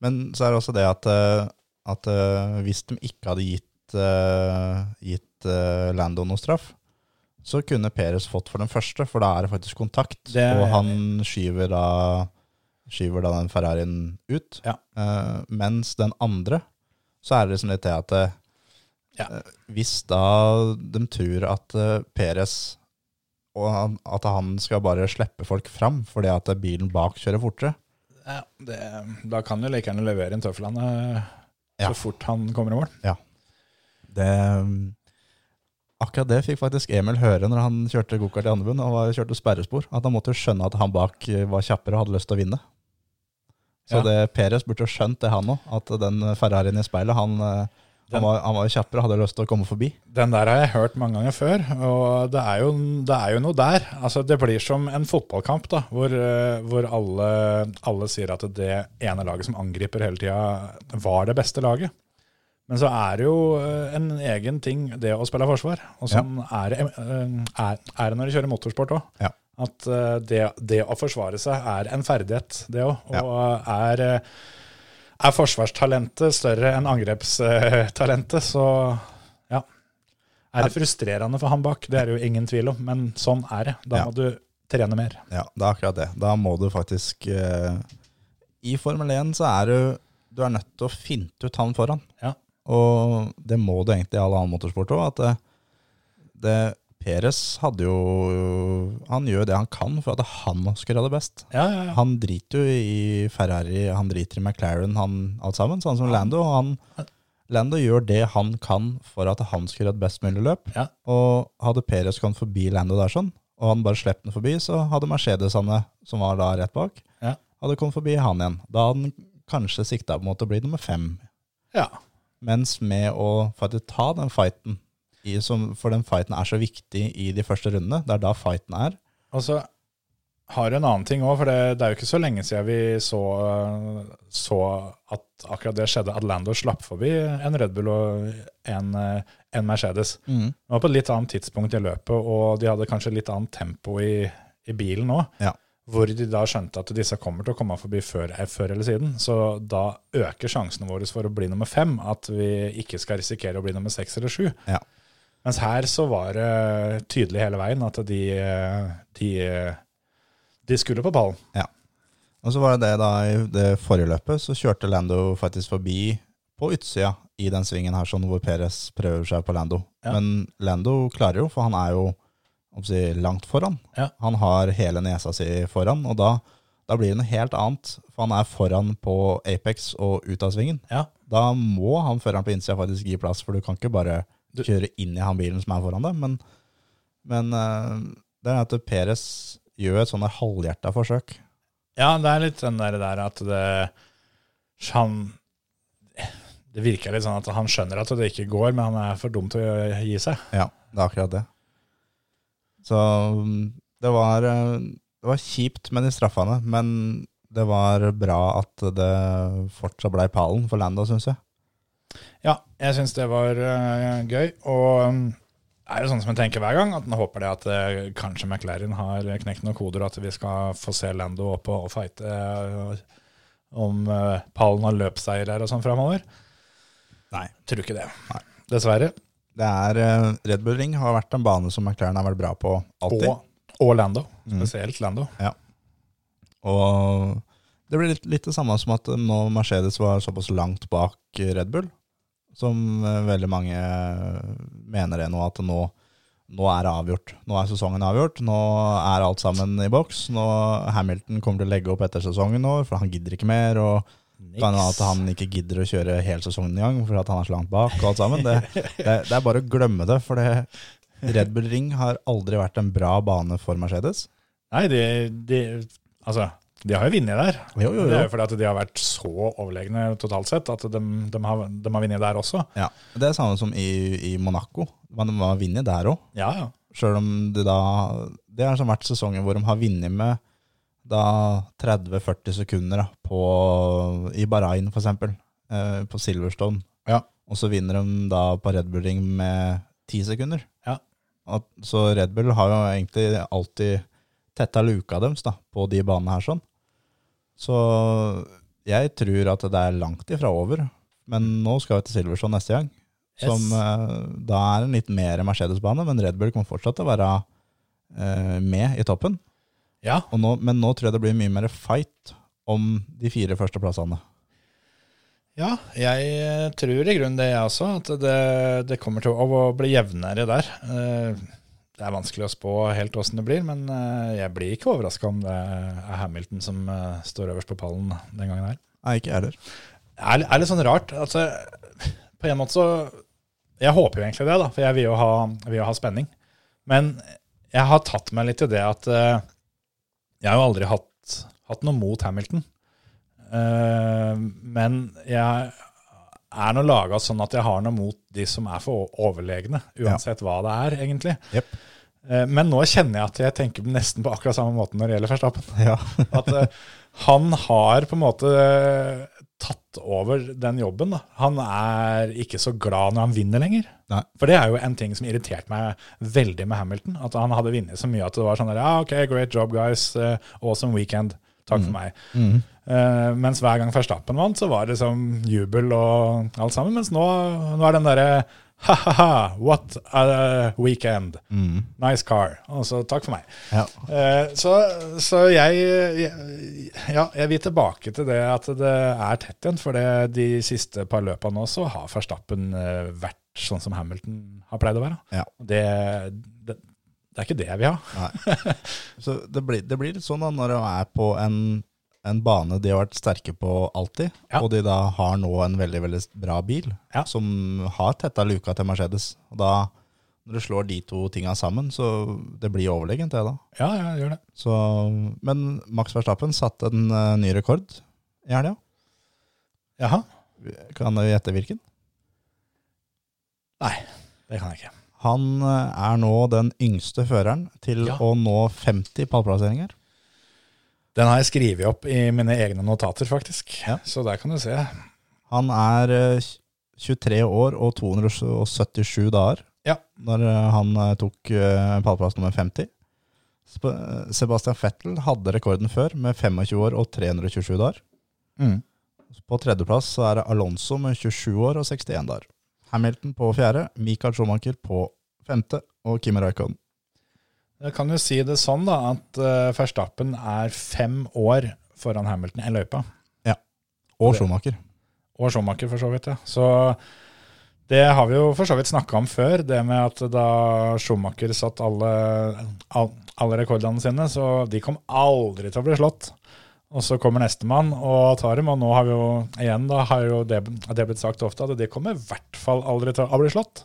Men så er det også det at, eh, at eh, hvis de ikke hadde gitt, eh, gitt eh, Lando noe straff, så kunne Perez fått for den første, for da er det faktisk kontakt. Det er og jeg han skyver da, skyver da den Ferrarien ut. Ja. Eh, mens den andre, så er det liksom litt det at eh, Ja. eh, hvis da de tror at eh, Perez og han, at han skal bare slippe folk fram fordi at bilen bak kjører fortere, Ja, det, da kan jo like gjerne levere inn tøflene eh, så Ja. fort han kommer i mål. Det, um, akkurat det fikk faktisk Emil høre når han kjørte gokart i Andebund og var- kjørte sperrespor. At han måtte jo skjønne at han bak eh, var kjappere og hadde lyst til å vinne. Ja. Så det, Peres burde jo skjønt det, han òg. At den Ferrarien i speilet, han, eh, Den- han, var, han var jo kjappere og hadde lyst til å komme forbi. Den der har jeg hørt mange ganger før, og det er jo, det er jo noe der. Altså, det blir som en fotballkamp, da, hvor, eh, hvor alle, alle sier at det ene laget som angriper hele tida, var det beste laget. Men så er det jo eh, en egen ting, det å spille forsvar. Og sånn er, det, eh, er, er det når du kjører motorsport òg. Ja. At eh, det, det å forsvare seg er en ferdighet, det òg. Og er, eh, er forsvarstalentet større enn angrepstalentet, så ja. Er det frustrerende for han bak? Det er det jo ingen tvil om, men sånn er det. Da Ja. må du trene mer. Ja, det er akkurat det. Da må du faktisk eh, I Formel 1 så er du Du er nødt til å finte ut han foran. Ja. Og det må du egentlig i all annen motorsport òg. At det, det Peres hadde jo Han gjør det han kan for at han skal gjøre det best. Ja, ja, ja. Han driter jo i Ferrari, han driter i McLaren, han alt sammen. Sånn som Lando. og Han, Lando gjør det han kan for at han skal gjøre et best mulig løp. Ja. Og hadde Perez kommet forbi Lando der sånn, og han bare slapp den forbi, så hadde Mercedesene, som var da rett bak, Ja. hadde kommet forbi han igjen. Da hadde han kanskje sikta mot å bli nummer fem. Ja. Mens med å faktisk ta den fighten, i, som, for den fighten er så viktig i de første rundene, det er da fighten er. Og så har du en annen ting òg, for det, det er jo ikke så lenge siden vi så, så at akkurat det skjedde, at Lando slapp forbi en Red Bull og en, eh, en Mercedes. Det var på et litt annet tidspunkt i løpet, og de hadde kanskje litt annet tempo i, i bilen òg. Ja. Hvor de da skjønte at disse kommer til å komme forbi før, eh, før eller siden. Så da øker sjansene våre for å bli nummer fem, at vi ikke skal risikere å bli nummer seks eller sju. Ja. Mens her så var det tydelig hele veien at de, de, de skulle på ballen. Og så var det det da, i det forrige løpet så kjørte Lando faktisk forbi på utsida i den svingen her, sånn hvor Perez prøver seg på Lando. Ja. Men Lando klarer jo, for han er jo om å si, langt foran. Ja. Han har hele nesa si foran, og da, da blir det noe helt annet. For han er foran på Apex og ut av svingen. Ja. Da må han føreren på innsida faktisk gi plass, for du kan ikke bare Du- kjøre inn i han bilen som er foran deg. Men, men eh, det er at Perez gjør et sånn halvhjerta forsøk. Ja, det er litt den der, der at det Han Det virker litt sånn at han skjønner at det ikke går, men han er for dum til å gi seg. Ja, det er akkurat det. Så mm, det var, eh, det var kjipt med de straffene, men det var bra at det fortsatt blei pallen for Lando, syns jeg. Ja, jeg syns det var eh, gøy. Og um, det er jo sånn som jeg tenker hver gang, at en håper det at eh, kanskje McLaren har knekt noen koder, og at vi skal få se Lando opp og, og fighte eh, om eh, pallen har løpsseier her og sånn framover. Nei. Tror ikke det. Nei. Dessverre. Det er, eh, Red Bull Ring har vært en bane som McLaren har vært bra på alltid. Og, Mm. og Lando. Spesielt Lando. Og det blir litt, litt det samme som at nå Mercedes var såpass langt bak Red Bull, som eh, veldig mange eh, mener det nå, at nå, nå er det avgjort. Nå er sesongen avgjort, nå er alt sammen i boks. Nå Hamilton kommer til å legge opp etter sesongen nå, for han gidder ikke mer. og kan hende at han ikke gidder å kjøre hele sesongen i gang fordi at han er så langt bak. og alt sammen. Det, det, det er bare å glemme det, for det, Red Bull Ring har aldri vært en bra bane for Mercedes. Nei, de, de Altså, de har jo vunnet der. Jo, jo, jo. Det er jo fordi at de har vært så overlegne totalt sett at de, de har, de har vunnet der også. Ja, Det er samme som i, i Monaco. Man må vinne der òg. Ja, ja. Sjøl om det da Det har sånn vært sesonger hvor de har vunnet med da 30-40 sekunder da, på, i Bahrain, for eksempel. Eh, på Silverstone. Ja. Og så vinner de da på Red Bull Ring med 10 sekunder. Ja. At, så Red Bull har jo egentlig alltid tetta luka deres da, på de banene her sånn. Så jeg tror at det er langt ifra over. Men nå skal vi til Silverstone neste gang. Som Yes. eh, da er en litt mer Mercedes-bane, men Red Bull kommer fortsatt til å være eh, med i toppen. ja. Og nå, men nå tror jeg det blir mye mer fight om de fire første plassene. Ja, jeg eh, tror i grunnen det, jeg også. At det, det kommer til å bli jevnere der. Eh, Det er vanskelig å spå helt åssen det blir, men eh, jeg blir ikke overraska om det er Hamilton som eh, står øverst på pallen den gangen her. Nei, ikke jeg heller. Det er, er litt sånn rart. Altså, på en måte så Jeg håper jo egentlig det, da, for jeg vil jo ha, vil jo ha spenning. Men jeg har tatt meg litt til det at eh, jeg har jo aldri hatt, hatt noe mot Hamilton. Eh, men jeg er nå laga sånn at jeg har noe mot de som er for o- overlegne, uansett hva det er, egentlig. Jepp. Eh, men nå kjenner jeg at jeg tenker nesten på akkurat samme måten når det gjelder Verstappen. Ja. At eh, han har på en måte eh, tatt over den jobben. Da. Han er ikke så glad når han vinner lenger. Nei. For det er jo en ting som irriterte meg veldig med Hamilton. At han hadde vunnet så mye at det var sånn der, ja, ok, great job guys, eh, awesome weekend, takk Mm. for meg. Eh, mens hver gang Verstappen vant, så var det som jubel og alt sammen. Mens nå, nå er den derre ha-ha-ha, what a weekend, nice car, og så takk for meg. Mm. Ja. Eh, Så, så jeg, jeg Ja, jeg vil tilbake til det at det er tett igjen. For det, de siste par løpene nå så har Verstappen eh, vært sånn som Hamilton har pleid å være. Ja. Det, det, det er ikke det jeg vil ha. Så det blir, det blir litt sånn da, når de er på en, en bane de har vært sterke på alltid, Ja. og de da har nå en veldig, veldig bra bil, Ja. som har tetta luka til Mercedes. Og da, Når du slår de to tinga sammen, så det blir overlegent, det da. Ja, ja, gjør det. Så, men Max Verstappen satte en eh, ny rekord i helga. Jaha? Kan du gjette hvilken? Nei, det kan jeg ikke. Han eh, er nå den yngste føreren til Ja. å nå 50 pallplasseringer. Den har jeg skrevet opp i mine egne notater, faktisk. Ja. Så der kan du se. Han er eh, 23 år og 277 dager Ja. når eh, han eh, tok eh, pallplass nummer 50. Sp- eh, Sebastian Vettel hadde rekorden før med 25 år og 327 dager. Mm. På tredjeplass så er det Alonso med 27 år og 61 dager. Hamilton på fjerde, Michael Schumacher på femte og Kimi Raikon. Jeg kan jo si det sånn da, at eh, Verstappen er fem år foran Hamilton i løypa. Og Det- Schumacher. Og Schumacher, for så vidt. ja. Så det har vi jo for så vidt snakka om før, det med at da Schumacher satt alle, all, alle rekordene sine, så de kom aldri til å bli slått. Og så kommer nestemann og tar dem, og nå har vi jo igjen da, har jo det, det blitt sagt ofte, at de kommer i hvert fall aldri til å bli slått.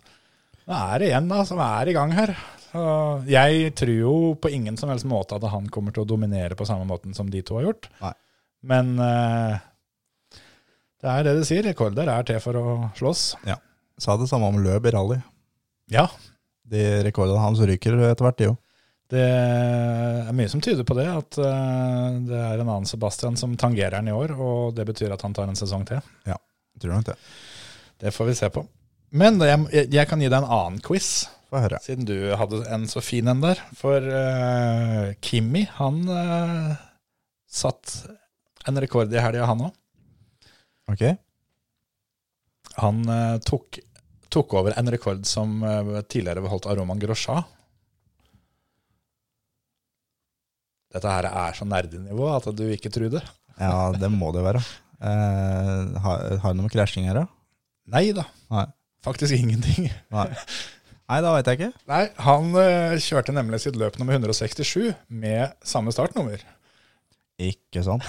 Det er det igjen da, som er i gang her. Så jeg tror jo på ingen som helst måte at han kommer til å dominere på samme måten som de to har gjort. Nei. Men eh, det er det du sier, rekorder er til for å slåss. Sa det samme om løp i rally. Ja, De rekordene hans ryker etter hvert, de jo. det er mye som tyder på det, at eh, det er en annen Sebastian som tangerer den i år, og det betyr at han tar en sesong til. Tror nok det. Det får vi se på. Men jeg, jeg kan gi deg en annen quiz. Få høre. Siden du hadde en så fin en der. For eh, Kimi, han eh, satt en rekord i helga, han òg. Ok. Han eh, tok, tok over en rekord som eh, tidligere var holdt av Roman Grosja. Dette her er så nerdenivå at du ikke tror det. Ja, det må det jo være. Eh, har, har det noe med krasjing her, da? Nei da. Nei. Faktisk ingenting. Nei, Nei da veit jeg ikke. Nei, han eh, kjørte nemlig sitt løp nummer 167 med samme startnummer. Ikke sant?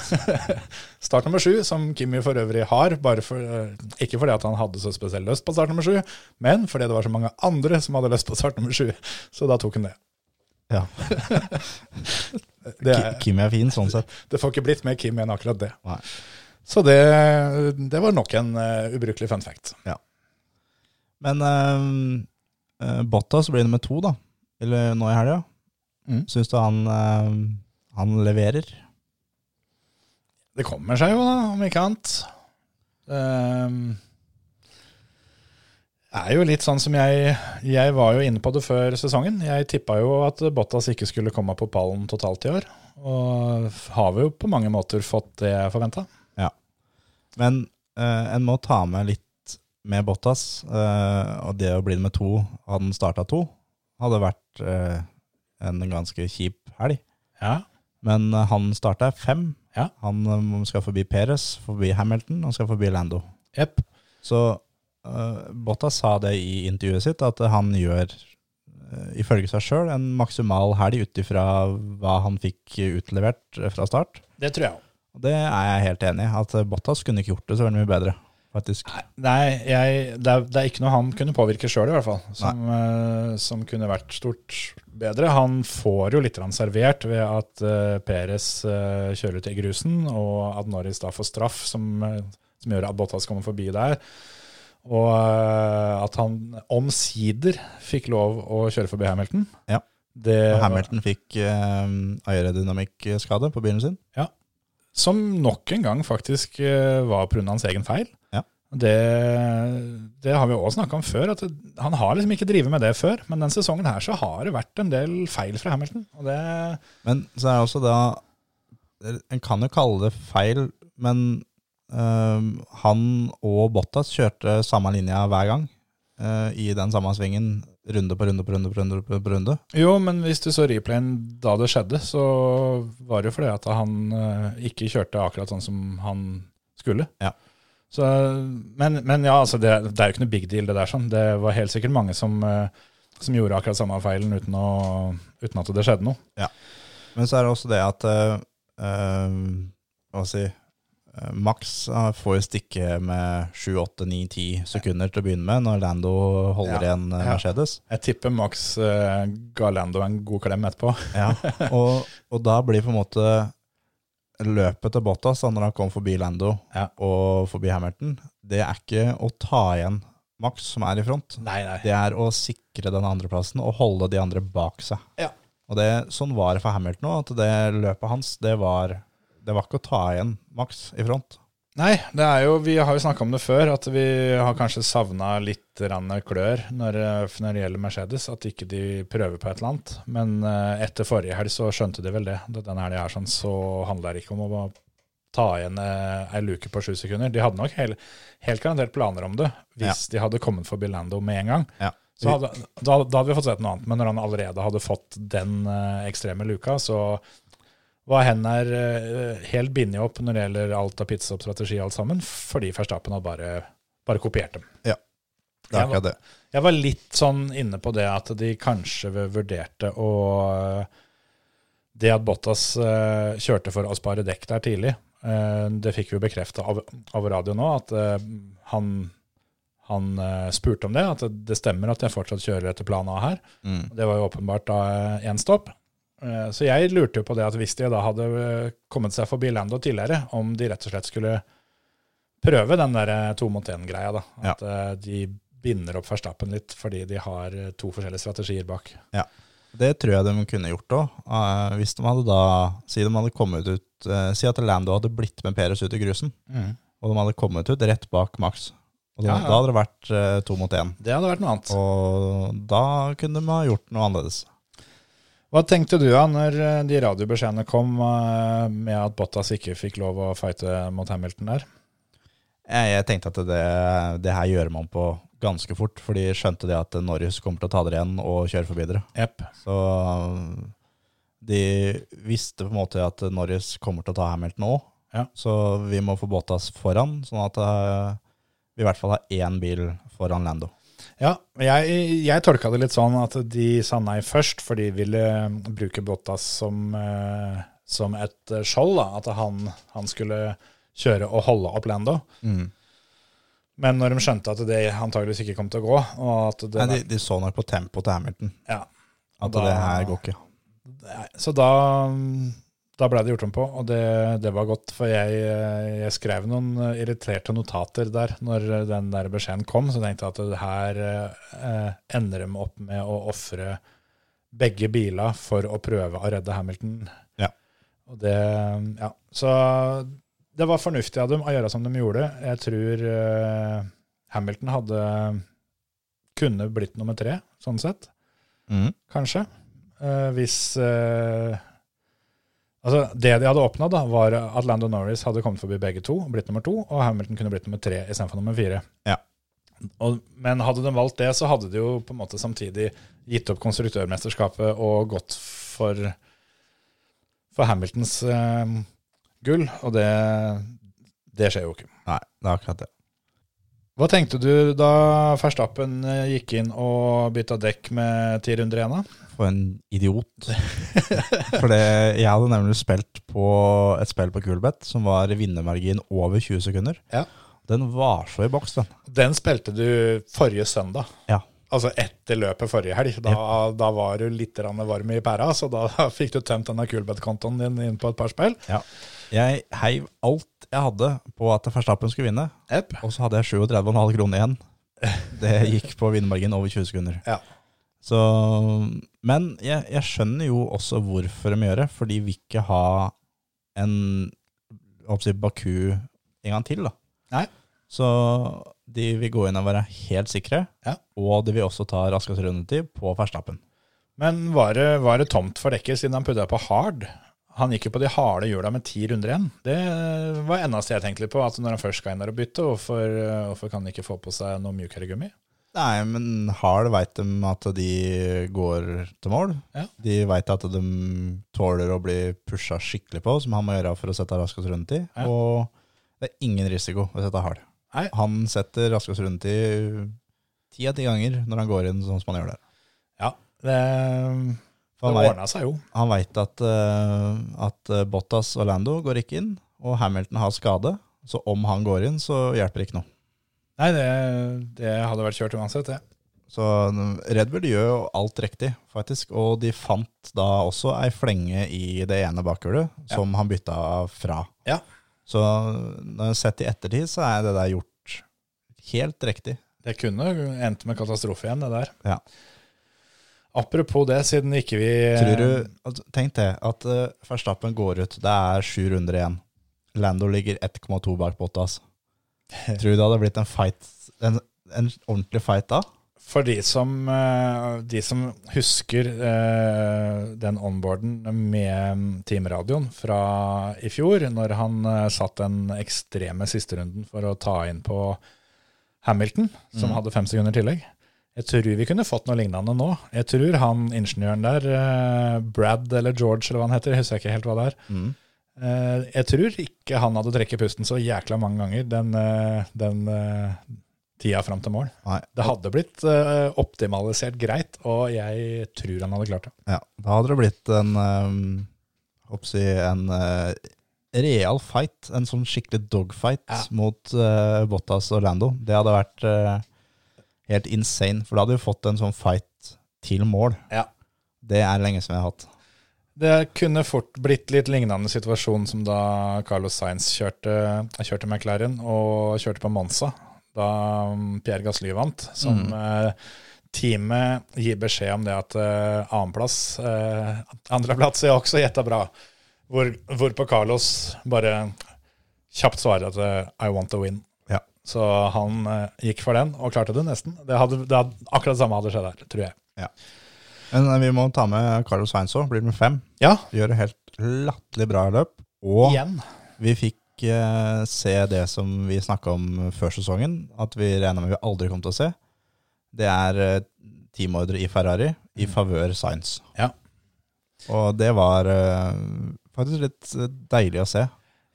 Start nummer sju, som Kimi for øvrig har, bare for, eh, ikke fordi at han hadde så spesielt lyst på start nummer sju, men fordi det var så mange andre som hadde lyst på start nummer sju. Så da tok han det. Ja. Det, er, Ki- Kim er fin, sånn sett. det får ikke blitt mer Kim enn akkurat det. Nei. Så det, det var nok en eh, ubrukelig fun fact. Men eh, eh, Bottas blir nummer to, da. Eller nå i helga. Mm. Syns du han, eh, han leverer? Det kommer seg jo, da, om ikke annet. Ehm, Det er jo litt sånn som jeg Jeg var jo inne på det før sesongen. Jeg tippa jo at Bottas ikke skulle komme på pallen totalt i år. Og har vi jo på mange måter fått det jeg forventa. Men eh, en må ta med litt med Bottas. eh, og det å bli nummer to, hadde han starta to, hadde vært eh, en ganske kjip helg. Ja. Men eh, han starta fem. Ja. Han eh, skal forbi Perez, forbi Hamilton, han skal forbi Lando. Jepp. Så eh, Bottas sa det i intervjuet sitt, at han gjør, eh, ifølge seg sjøl, en maksimal helg ut ifra hva han fikk utlevert eh, fra start. Det tror jeg òg. Og det er jeg helt enig i, at eh, Bottas kunne ikke gjort det så veldig mye bedre, faktisk. Nei, jeg, det, er, det er ikke noe han kunne påvirke sjøl, i hvert fall. Som, eh, som kunne vært stort bedre. Han får jo litt grann servert ved at eh, Perez eh, kjører ut i grusen, og at Norris da får straff, som, eh, som gjør at Bottas kommer forbi der. Og eh, at han omsider fikk lov å kjøre forbi Hamilton. Ja. Det, Og Hamilton fikk eh, aerodynamikkskade på bilen sin. Som nok en gang faktisk eh, var pga. hans egen feil. Ja. Det, det har vi òg snakka om før, at det, han har liksom ikke drevet med det før. Men den sesongen her så har det vært en del feil fra Hamilton. Og det, Men så er det også da En kan jo kalle det feil, men øhm, han og Bottas kjørte samme linja hver gang. øh, I den samme svingen. Runde på runde på runde på runde. på runde. jo, men hvis du så replayen da det skjedde, så var det jo fordi at han eh, ikke kjørte akkurat sånn som han skulle. Ja. Så, men, men ja, altså det, det er jo ikke noe big deal det der sånn. Det var helt sikkert mange som, eh, som gjorde akkurat samme feilen uten, å, uten at det skjedde noe. Men så er det også det at øh, øh, eh, ehm, Hva skal jeg si eh, Max eh, får jo stikke med 7-8-9-10 sekunder til å begynne med, når Lando holder Ja. igjen eh, Ja. Mercedes. Jeg tipper Max eh, ga Lando en god klem etterpå. Ja, og, og da blir på en måte løpet til Bottas da, når han kom forbi Lando Ja. og forbi Hamilton, det er ikke å ta igjen Max som er i front. Nei, nei. Det er å sikre den andreplassen og holde de andre bak seg. Ja. Og det, sånn var det for Hamilton òg, at det løpet hans, det var, det var ikke å ta igjen Max i front. Nei, det er jo, vi har jo snakka om det før, at vi har kanskje savna litt rann klør når, eh, når det gjelder Mercedes. At ikke de prøver på et eller annet. Men eh, etter forrige helg så skjønte de vel det. At Denne helga her sånn, så handler det ikke om å bare ta igjen eh, ei luke på sju sekunder. De hadde nok hel, helt garantert planer om det hvis de hadde kommet forbi Lando med en gang. Ja. Så hadde, da, da hadde vi fått sett noe annet, men når han allerede hadde fått den eh, ekstreme luka, så var Henner eh, helt bindet opp når det gjelder alt av pizzaoppstrategi og alt sammen, fordi Verstappen hadde bare, bare kopiert dem. Det er akkurat det. Jeg var litt sånn inne på det at de kanskje vurderte å eh, Det at Bottas eh, kjørte for å spare dekk der tidlig, eh, det fikk vi jo bekrefta av, av radio nå, at eh, han, han eh, spurte om det. At det- det stemmer at jeg fortsatt kjører etter plan A her. Mm. Det var jo åpenbart da én stopp. Eh, Så jeg lurte jo på det at hvis de da hadde eh, kommet seg forbi Lando tidligere, om de rett og slett skulle prøve den der eh, to mot én-greia, da. At eh, de binder opp Verstappen litt fordi de har eh, to forskjellige strategier bak. Det tror jeg de kunne gjort òg. hvis de hadde da Si de hadde kommet ut eh, Si at Lando hadde blitt med Perez ut i grusen, og de hadde kommet ut rett bak Max. Og da, Ja, ja. da hadde det vært eh, to mot én. Det hadde vært noe annet. Og da kunne de ha gjort noe annerledes. Hva tenkte du da når eh, de radiobeskjedene kom eh, med at Bottas ikke fikk lov å fighte mot Hamilton der? Jeg, jeg tenkte at det, det her gjør man på ganske fort, for de skjønte det at Norris kommer til å ta dere igjen og kjøre forbi dere. Jepp. Så um, de visste på en måte at Norris kommer til å ta Hamilton nå, Ja. så vi må få Bottas foran, sånn at uh, vi i hvert fall har én bil foran Lando. Ja, men jeg, jeg tolka det litt sånn at de sa nei først, for de ville bruke Bottas som, eh, som et eh, skjold. da, At han, han skulle kjøre og holde opp Lando. Men når de skjønte at det antageligvis ikke kom til å gå og at det, Nei, de, de så nok på tempoet til Hamilton ja, at Da- det her går ikke. Nei, Så da, da ble det gjort om på, og det, det var godt. For jeg, jeg skrev noen eh, irriterte notater der når den der beskjeden kom. Så tenkte jeg at det her eh, ender de opp med å ofre begge biler for å prøve å redde Hamilton. Ja. Og det, ja. Så det var fornuftig av dem å gjøre som de gjorde. Jeg tror eh, Hamilton hadde kunne blitt nummer tre, sånn sett Mm. kanskje. Eh, hvis eh, Altså, det de hadde oppnådd, da, var at Lando Norris hadde kommet forbi begge to, blitt nummer to, og Hamilton kunne blitt nummer tre istedenfor nummer fire. Ja. Og, men hadde de valgt det, så hadde de jo på en måte samtidig gitt opp konstruktørmesterskapet og gått for, for Hamiltons eh, gull, og det, det skjer jo ikke. Nei, det er akkurat det. Hva tenkte du da Verstappen eh, gikk inn og bytta dekk med ti runder igjen, da? For en idiot. For det, jeg hadde nemlig spilt på et spill på Kulbeth som var vinnermargin over 20 sekunder. Ja. Den var så i boks, den. Den spilte du forrige søndag. Ja. Altså etter løpet forrige helg. Da, da var du litt grann varm i pæra, så da fikk du tømt denne Kulbeth-kontoen din inn på et par spill. Jeg heiv alt jeg hadde på at Verstappen skulle vinne, og så hadde jeg 37,5 kroner igjen. Det gikk på vinnermargin over 20 sekunder. Ja. Så, men jeg, jeg skjønner jo også hvorfor de gjør det, for de vil ikke ha en hva skal jeg si, Baku en gang til. da. Nei. Så de vil gå inn og være helt sikre, Ja. og de vil også ta raskest rundetid på Verstappen. Men var det, var det tomt for dekker siden han putta på hard? Han gikk jo på de harde hjula med ti runder igjen. Det var eneste jeg tenkte litt på. At når han først skal inn der og bytte, hvorfor, hvorfor kan han ikke få på seg noe mjukere gummi? Nei, men Hard veit de at de går til mål. Ja. De veit at de tåler å bli pusha skikkelig på, som han må gjøre for å sette raskest rundetid. Ja. Og det er ingen risiko ved å sette Hard. Nei. Han setter raskest rundetid ti av ti ganger når han går inn sånn som han gjør der. Ja, det, det For han veit- ordna seg jo. han veit at, eh, at eh, Bottas og Lando går ikke inn, og Hamilton har skade. Så om han går inn, så hjelper ikke noe. Nei, det, det hadde vært kjørt uansett, det. Så mm, Red Bull gjør jo alt riktig, faktisk. Og de fant da også ei flenge i det ene bakhjulet, som han bytta fra. Ja. Så når jeg sett i ettertid, så er det der gjort helt riktig. Det kunne endt med katastrofe igjen, det der. Ja. Apropos det, siden ikke vi Tror du, altså, tenk det, at eh, Verstappen går ut, det er sju runder igjen. Lando ligger 1,2 bak Bottas. Tror du det hadde blitt en fight, en, en ordentlig fight da? For de som, eh, de som husker eh, den onboarden med mm, teamradioen fra i fjor, når han eh, satt den ekstreme sisterunden for å ta inn på Hamilton, som hadde fem sekunder tillegg. Jeg tror vi kunne fått noe lignende nå. Jeg tror han ingeniøren der, eh, Brad eller George eller hva han heter, jeg husker ikke helt hva det er. Eh, Jeg tror ikke han hadde trekket pusten så jækla mange ganger den, eh, den eh, tida fram til mål. Nei. Det hadde blitt eh, optimalisert greit, og jeg tror han hadde klart det. Ja, da hadde det blitt en, um, oppsi, en eh, real fight, en sånn skikkelig dogfight Ja. mot eh, Bottas og Lando. Det hadde vært eh, helt insane, for da hadde vi fått en sånn fight til mål. Ja. Det er lenge siden vi har hatt. Det kunne fort blitt litt lignende situasjon som da Carlos Sainz kjørte, kjørte McLaren og kjørte på Monza, da mm, Pierre Gasly vant, som eh, teamet gir beskjed om det at eh, annenplass, eh, andreplass er også gjetta bra, hvor, hvorpå Carlos bare kjapt svarer at eh, I want to win. Ja. Så han eh, gikk for den, og klarte det nesten. Det hadde, det hadde, akkurat det samme hadde skjedd her, tror jeg. Men eh, vi må ta med Carlos Sainz òg, blir med fem. Ja, Gjør et helt latterlig bra løp. Og igjen. vi fikk eh, se det som vi snakka om før sesongen, at vi regna med vi aldri kom til å se. Det er eh, teamordre i Ferrari i favør Science. Ja. Og det var eh, faktisk litt eh, deilig å se.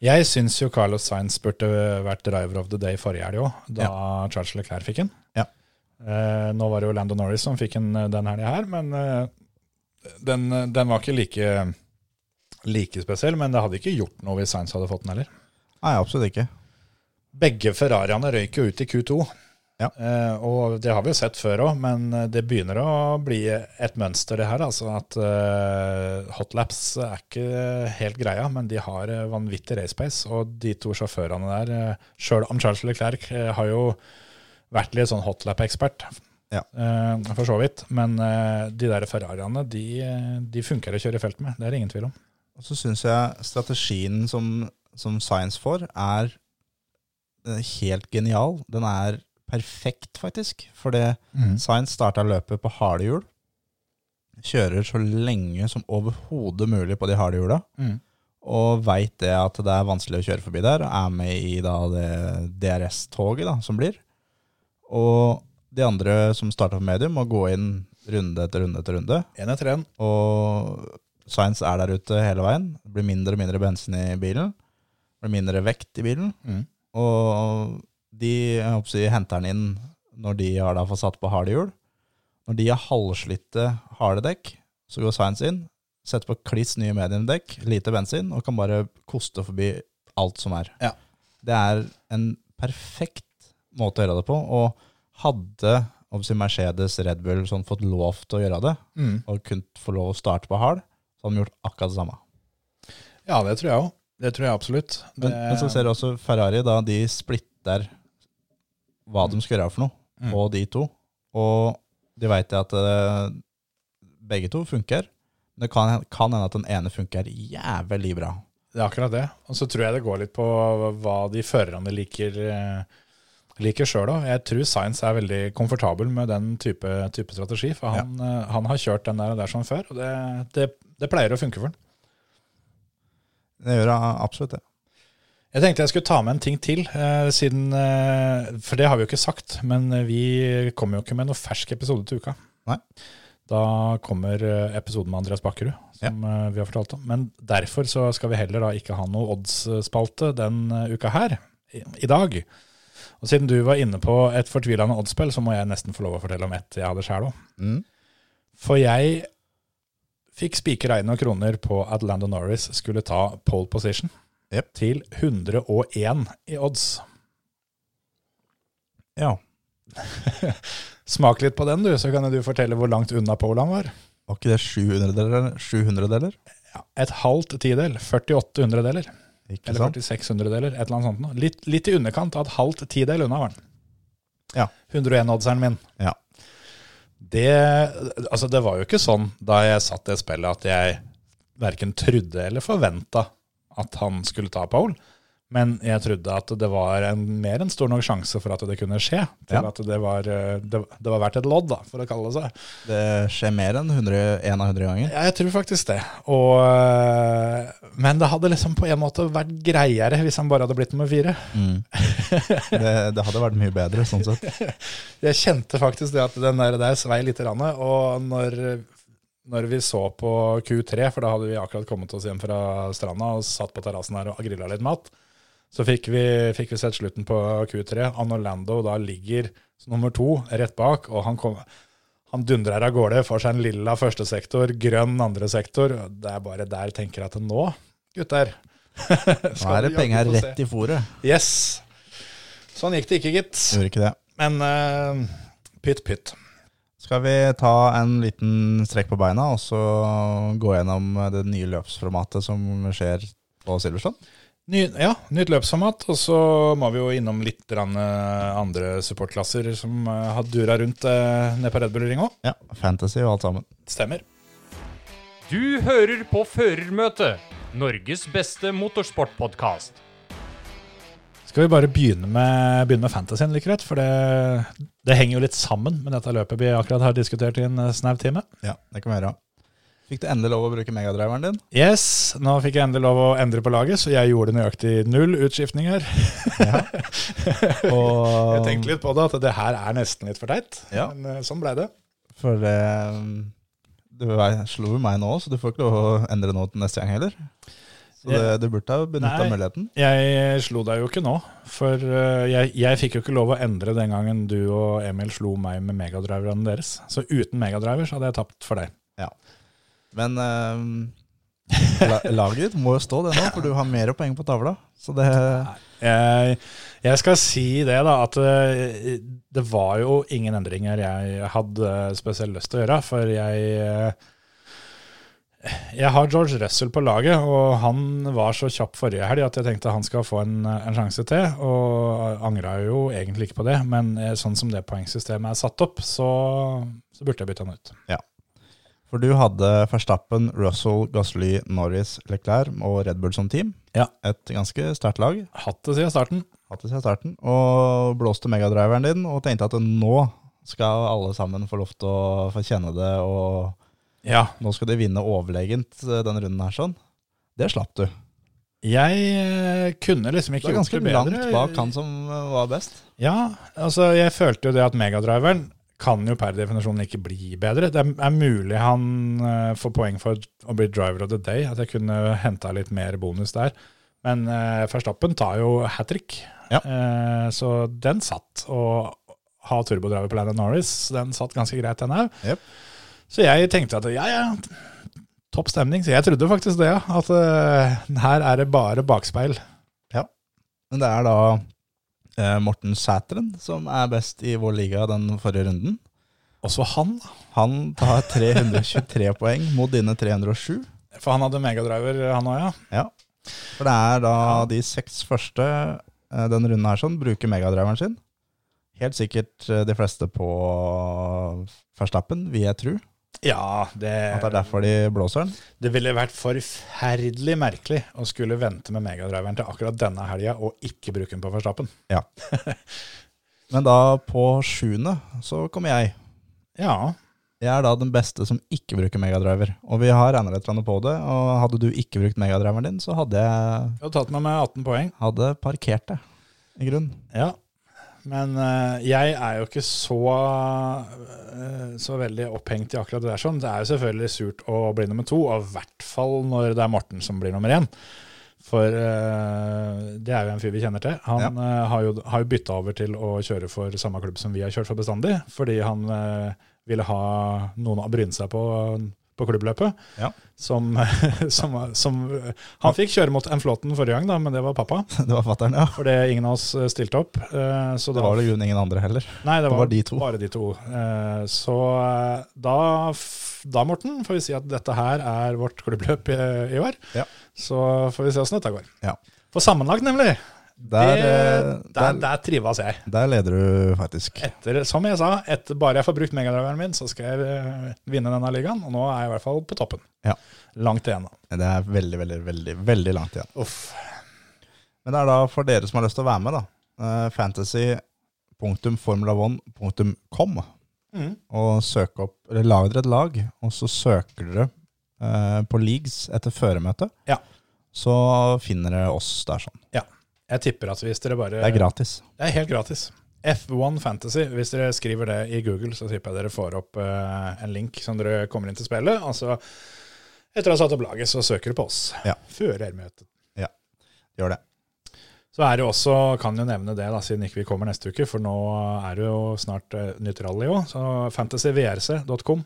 Jeg syns jo Carlos Sainz burde vært driver of the day forrige helg òg, da Charles Leclerc fikk den. Ja. Eh, nå var det jo Lando Norris som fikk den eh, den helga her, men eh, den, eh, den var ikke like, like spesiell. Men det hadde ikke gjort noe hvis Sainz hadde fått den heller. Nei, absolutt ikke. Begge Ferrariene røyk jo ut i Q2, Ja. eh, og det har vi jo sett før òg, men det begynner å bli et mønster, det her. Altså at eh, hotlaps er ikke helt greia, men de har eh, vanvittig race pace, og de to sjåførene der, eh, sjøl om Charles Leclerc eh, har jo vært litt sånn hotlap-ekspert, Ja. eh, for så vidt, men eh, de der Ferrariene, de, eh, de funker å kjøre i felt med, det er det ingen tvil om. Og så syns jeg strategien som, som Science får, er eh, helt genial. Den er perfekt, faktisk. For det Science starta løpet på harde hjul. Kjører så lenge som overhodet mulig på de harde hjula. Mm. Og veit det at det er vanskelig å kjøre forbi der. og Er med i da det DRS-toget da, som blir. Og de andre som starta på medium, må gå inn runde etter runde etter runde. En etter en. Og Science er der ute hele veien. Det blir mindre og mindre bensin i bilen. Det blir mindre vekt i bilen. Mm. Og de jeg håper å si, henter den inn når de har da fått satt på harde hjul. Når de har halvslitte harde dekk, så går Science inn, setter på kliss nye mediumdekk, lite bensin, og kan bare koste forbi alt som er. Ja. Det er en perfekt måte å gjøre det på. Og hadde jeg håper å si, Mercedes, Red Bull sånn, fått lov til å gjøre det, Mm. og kunne få lov å starte på hard, så hadde de gjort akkurat det samme. Ja, det tror jeg òg. Det tror jeg absolutt. Eh, Men, Det- men så ser du også Ferrari, da de splitter hva de skal gjøre for noe, Mm. og de to. Og de veit at eh, begge to funker. Men det kan, kan hende at den ene funker jævlig bra. Det er akkurat det. Og så tror jeg det går litt på hva de førerne liker, eh, liker sjøl òg. Jeg tror Science er veldig komfortabel med den type, type strategi. For han, eh, han har kjørt den der og der som før, og det, det, det pleier å funke for han. Det gjør jeg absolutt det. Jeg tenkte jeg skulle ta med en ting til, eh, siden eh, For det har vi jo ikke sagt, men eh, vi kommer jo ikke med noe fersk episode til uka. Nei. Da kommer eh, episoden med Andreas Bakkerud, som eh, vi har fortalt om. Men derfor så skal vi heller da ikke ha noe odds-spalte den eh, uka her, i, i dag. Og siden du var inne på et fortvilende oddsspill, så må jeg nesten få lov å fortelle om ett jeg hadde sjæl òg. Mm. For jeg fikk spikra inn noen kroner på at Landon Norris skulle ta pole position. Jep. til 101 i odds. Ja. Smak litt på den, du, så kan du fortelle hvor langt unna Pole han var. Var ikke det 700 deler? 700 deler? Ja, et halvt tidel. 48 hundredeler. Ikke Eller sant? 46 hundredeler. Et eller annet sånt. noe. Litt, litt i underkant av et halvt tidel unna var den. Ja. 101-oddseren min. Ja. Det, altså det var jo ikke sånn da jeg satt det spillet at jeg verken trodde eller forventa at han skulle ta pole, men jeg trodde at det var en, mer enn stor nok sjanse for at det kunne skje. Til Ja. at det var, eh, det, det var verdt et lodd, da, for å kalle det seg. Det skjer mer enn 100, en av 100 ganger. Ja, jeg tror faktisk det. Og, eh, men det hadde liksom på en måte vært greiere hvis han bare hadde blitt nummer fire. Det, det hadde vært mye bedre, sånn sett. Jeg kjente faktisk det at den der, der svei litt. Rann, og når, når vi så på Q3, for da hadde vi akkurat kommet oss hjem fra stranda og satt på terrassen her og grilla litt mat, så fikk vi, fikk vi sett slutten på Q3. Han Orlando da ligger som nummer to rett bak, og han, kom, han dundrer av gårde, får seg en lilla første sektor, grønn andre sektor. Det er bare der tenker jeg at nå, gutter Nå er det penga rett i fòret. Yes. Sånn gikk det ikke, gitt. Gjorde ikke det. Men eh, pytt, pytt. Skal vi ta en liten strekk på beina og så gå gjennom det nye løpsformatet som skjer på Silverstone? Ny, ja, nytt løpsformat. Og så må vi jo innom litt grann, eh, andre supportklasser som eh, har dura rundt eh, nede på Red Bull Ring òg. Ja, Fantasy og alt sammen. Stemmer. Du hører på Førermøtet, Norges beste motorsportpodkast. Skal vi bare begynne med, begynne med fantasyen like greit? For det, det henger jo litt sammen med dette løpet vi akkurat har diskutert i en eh, snau time. Ja, det kan vi gjøre. Fikk du endelig lov å bruke megadriveren din? Yes, nå fikk jeg endelig lov å endre på laget, så jeg gjorde nøyaktig null utskiftninger. Og, Jeg tenkte litt på det, at det her er nesten litt for teit. Ja. Men eh, sånn blei det. For eh, du er- slo jo meg nå, så du får ikke lov å endre noe til neste gang heller. Så det, du burde ha benytta Nei. muligheten. Jeg eh, slo deg jo ikke nå, for eh, jeg, jeg fikk jo ikke lov å endre den gangen du og Emil slo meg med megadriverne deres. Så uten megadriver så hadde jeg tapt for deg. Men eh, la, laget ditt må jo stå det nå, for du har mer poeng på tavla. Så det Jeg, jeg skal si det, da, at eh, det var jo ingen endringer jeg hadde eh, spesielt lyst til å gjøre, for jeg eh, Jeg har George Russell på laget, og han var så kjapp forrige helg at jeg tenkte han skal få en, en sjanse til, og angra jo egentlig ikke på det, men eh, sånn som det poengsystemet er satt opp, så, så burde jeg bytte han ut. For du hadde Verstappen, Russell, Gasly, Norris, Leclerc og Red Bull som team. Ja. Et ganske sterkt lag. Hatt det siden starten. Hatt det siden starten. Og blåste megadriveren din og tenkte at nå skal alle sammen få lov til å få kjenne det, og Ja, nå skal de vinne overlegent eh, denne runden her sånn. Det slapp du. jeg eh, kunne liksom Du ikke er gjort ganske det bedre. langt bak han som eh, var best. Ja, altså jeg følte jo det at megadriveren kan jo per definisjon ikke bli bedre. Det er mulig han eh, får poeng for å bli driver of the day, at jeg kunne henta litt mer bonus der. Men uh, Verstappen tar jo hat trick, Ja. Eh, så den satt. Og ha turbodriver på Landon Norris, den satt ganske greit, den òg. Jep. Så jeg tenkte at ja, ja, topp stemning. Så jeg trodde faktisk det, ja. At eh, her er det bare bakspeil. Men det er da eh, Morten Sæteren som er best i vår liga den forrige runden. Også han, da. Han tar 323 poeng mot dine 307. For han hadde megadriver, han òg, ja. Ja. For det er da de seks første eh, denne runden her sånn, bruker megadriveren sin. Helt sikkert eh, de fleste på Verstappen, vil jeg tro. Ja, det, At det er derfor de blåser den. det ville vært forferdelig merkelig å skulle vente med megadriveren til akkurat denne helga og ikke bruke den på Verstappen. Men da på sjuende så kommer jeg. Ja, Jeg er da den beste som ikke bruker megadriver. Og vi har regna litt grann på det, og hadde du ikke brukt megadriveren din, så hadde jeg jeg har tatt meg med 18 poeng. hadde parkert det, i grunn. Ja. Men eh, jeg er jo ikke så, eh, så veldig opphengt i akkurat det der. sånn. Det er jo selvfølgelig surt å bli nummer to, og i hvert fall når det er Morten som blir nummer én. For eh, det er jo en fyr vi kjenner til. Han Ja. eh, har jo, har jo bytta over til å kjøre for samme klubb som vi har kjørt for bestandig, fordi han eh, ville ha noen å bryne seg på på klubbløpet. Ja. Som, som, som eh, Han fikk kjøre mot Enflåten forrige gang, da, men det var pappa. Det var fatteren, ja. Fordi ingen av oss eh, stilte opp. eh, Så Det da- var vel i grunnen ingen andre heller. Nei, det var, var de to. bare de to. Eh, Så eh, da, f- da, Morten, får vi si at dette her er vårt klubbløp i, i år. Ja. Så får vi se åssen dette går. Ja. For sammenlagt, nemlig. Der, eh, det, der, der, der trives jeg. der leder du faktisk. Etter, som jeg sa, etter bare jeg får brukt megadriveren min, så skal jeg eh, vinne denne ligaen. Og nå er jeg i hvert fall på toppen. Ja. Langt igjen. da. Det er veldig, veldig, veldig, veldig langt igjen. Uff. Men det er da for dere som har lyst til å være med, da. eh, Fantasy.formula1.com. Mm. Og søke opp Eller lag dere et lag, og så søker dere eh, på leagues etter føremøte. Ja. Så finner dere oss der sånn. Jeg tipper at hvis dere bare Det er gratis. Det er helt gratis. F1 Fantasy, hvis dere skriver det i Google, så tipper jeg dere får opp eh, en link som dere kommer inn til spillet. Altså, etter å ha satt opp laget, så søker dere på oss. Ja. Førermøtet. Gjør det. Så er det jo også, kan jo nevne det, da, siden ikke vi kommer neste uke, for nå er det jo snart eh, nytt rally òg. Så fantasyvrc.com.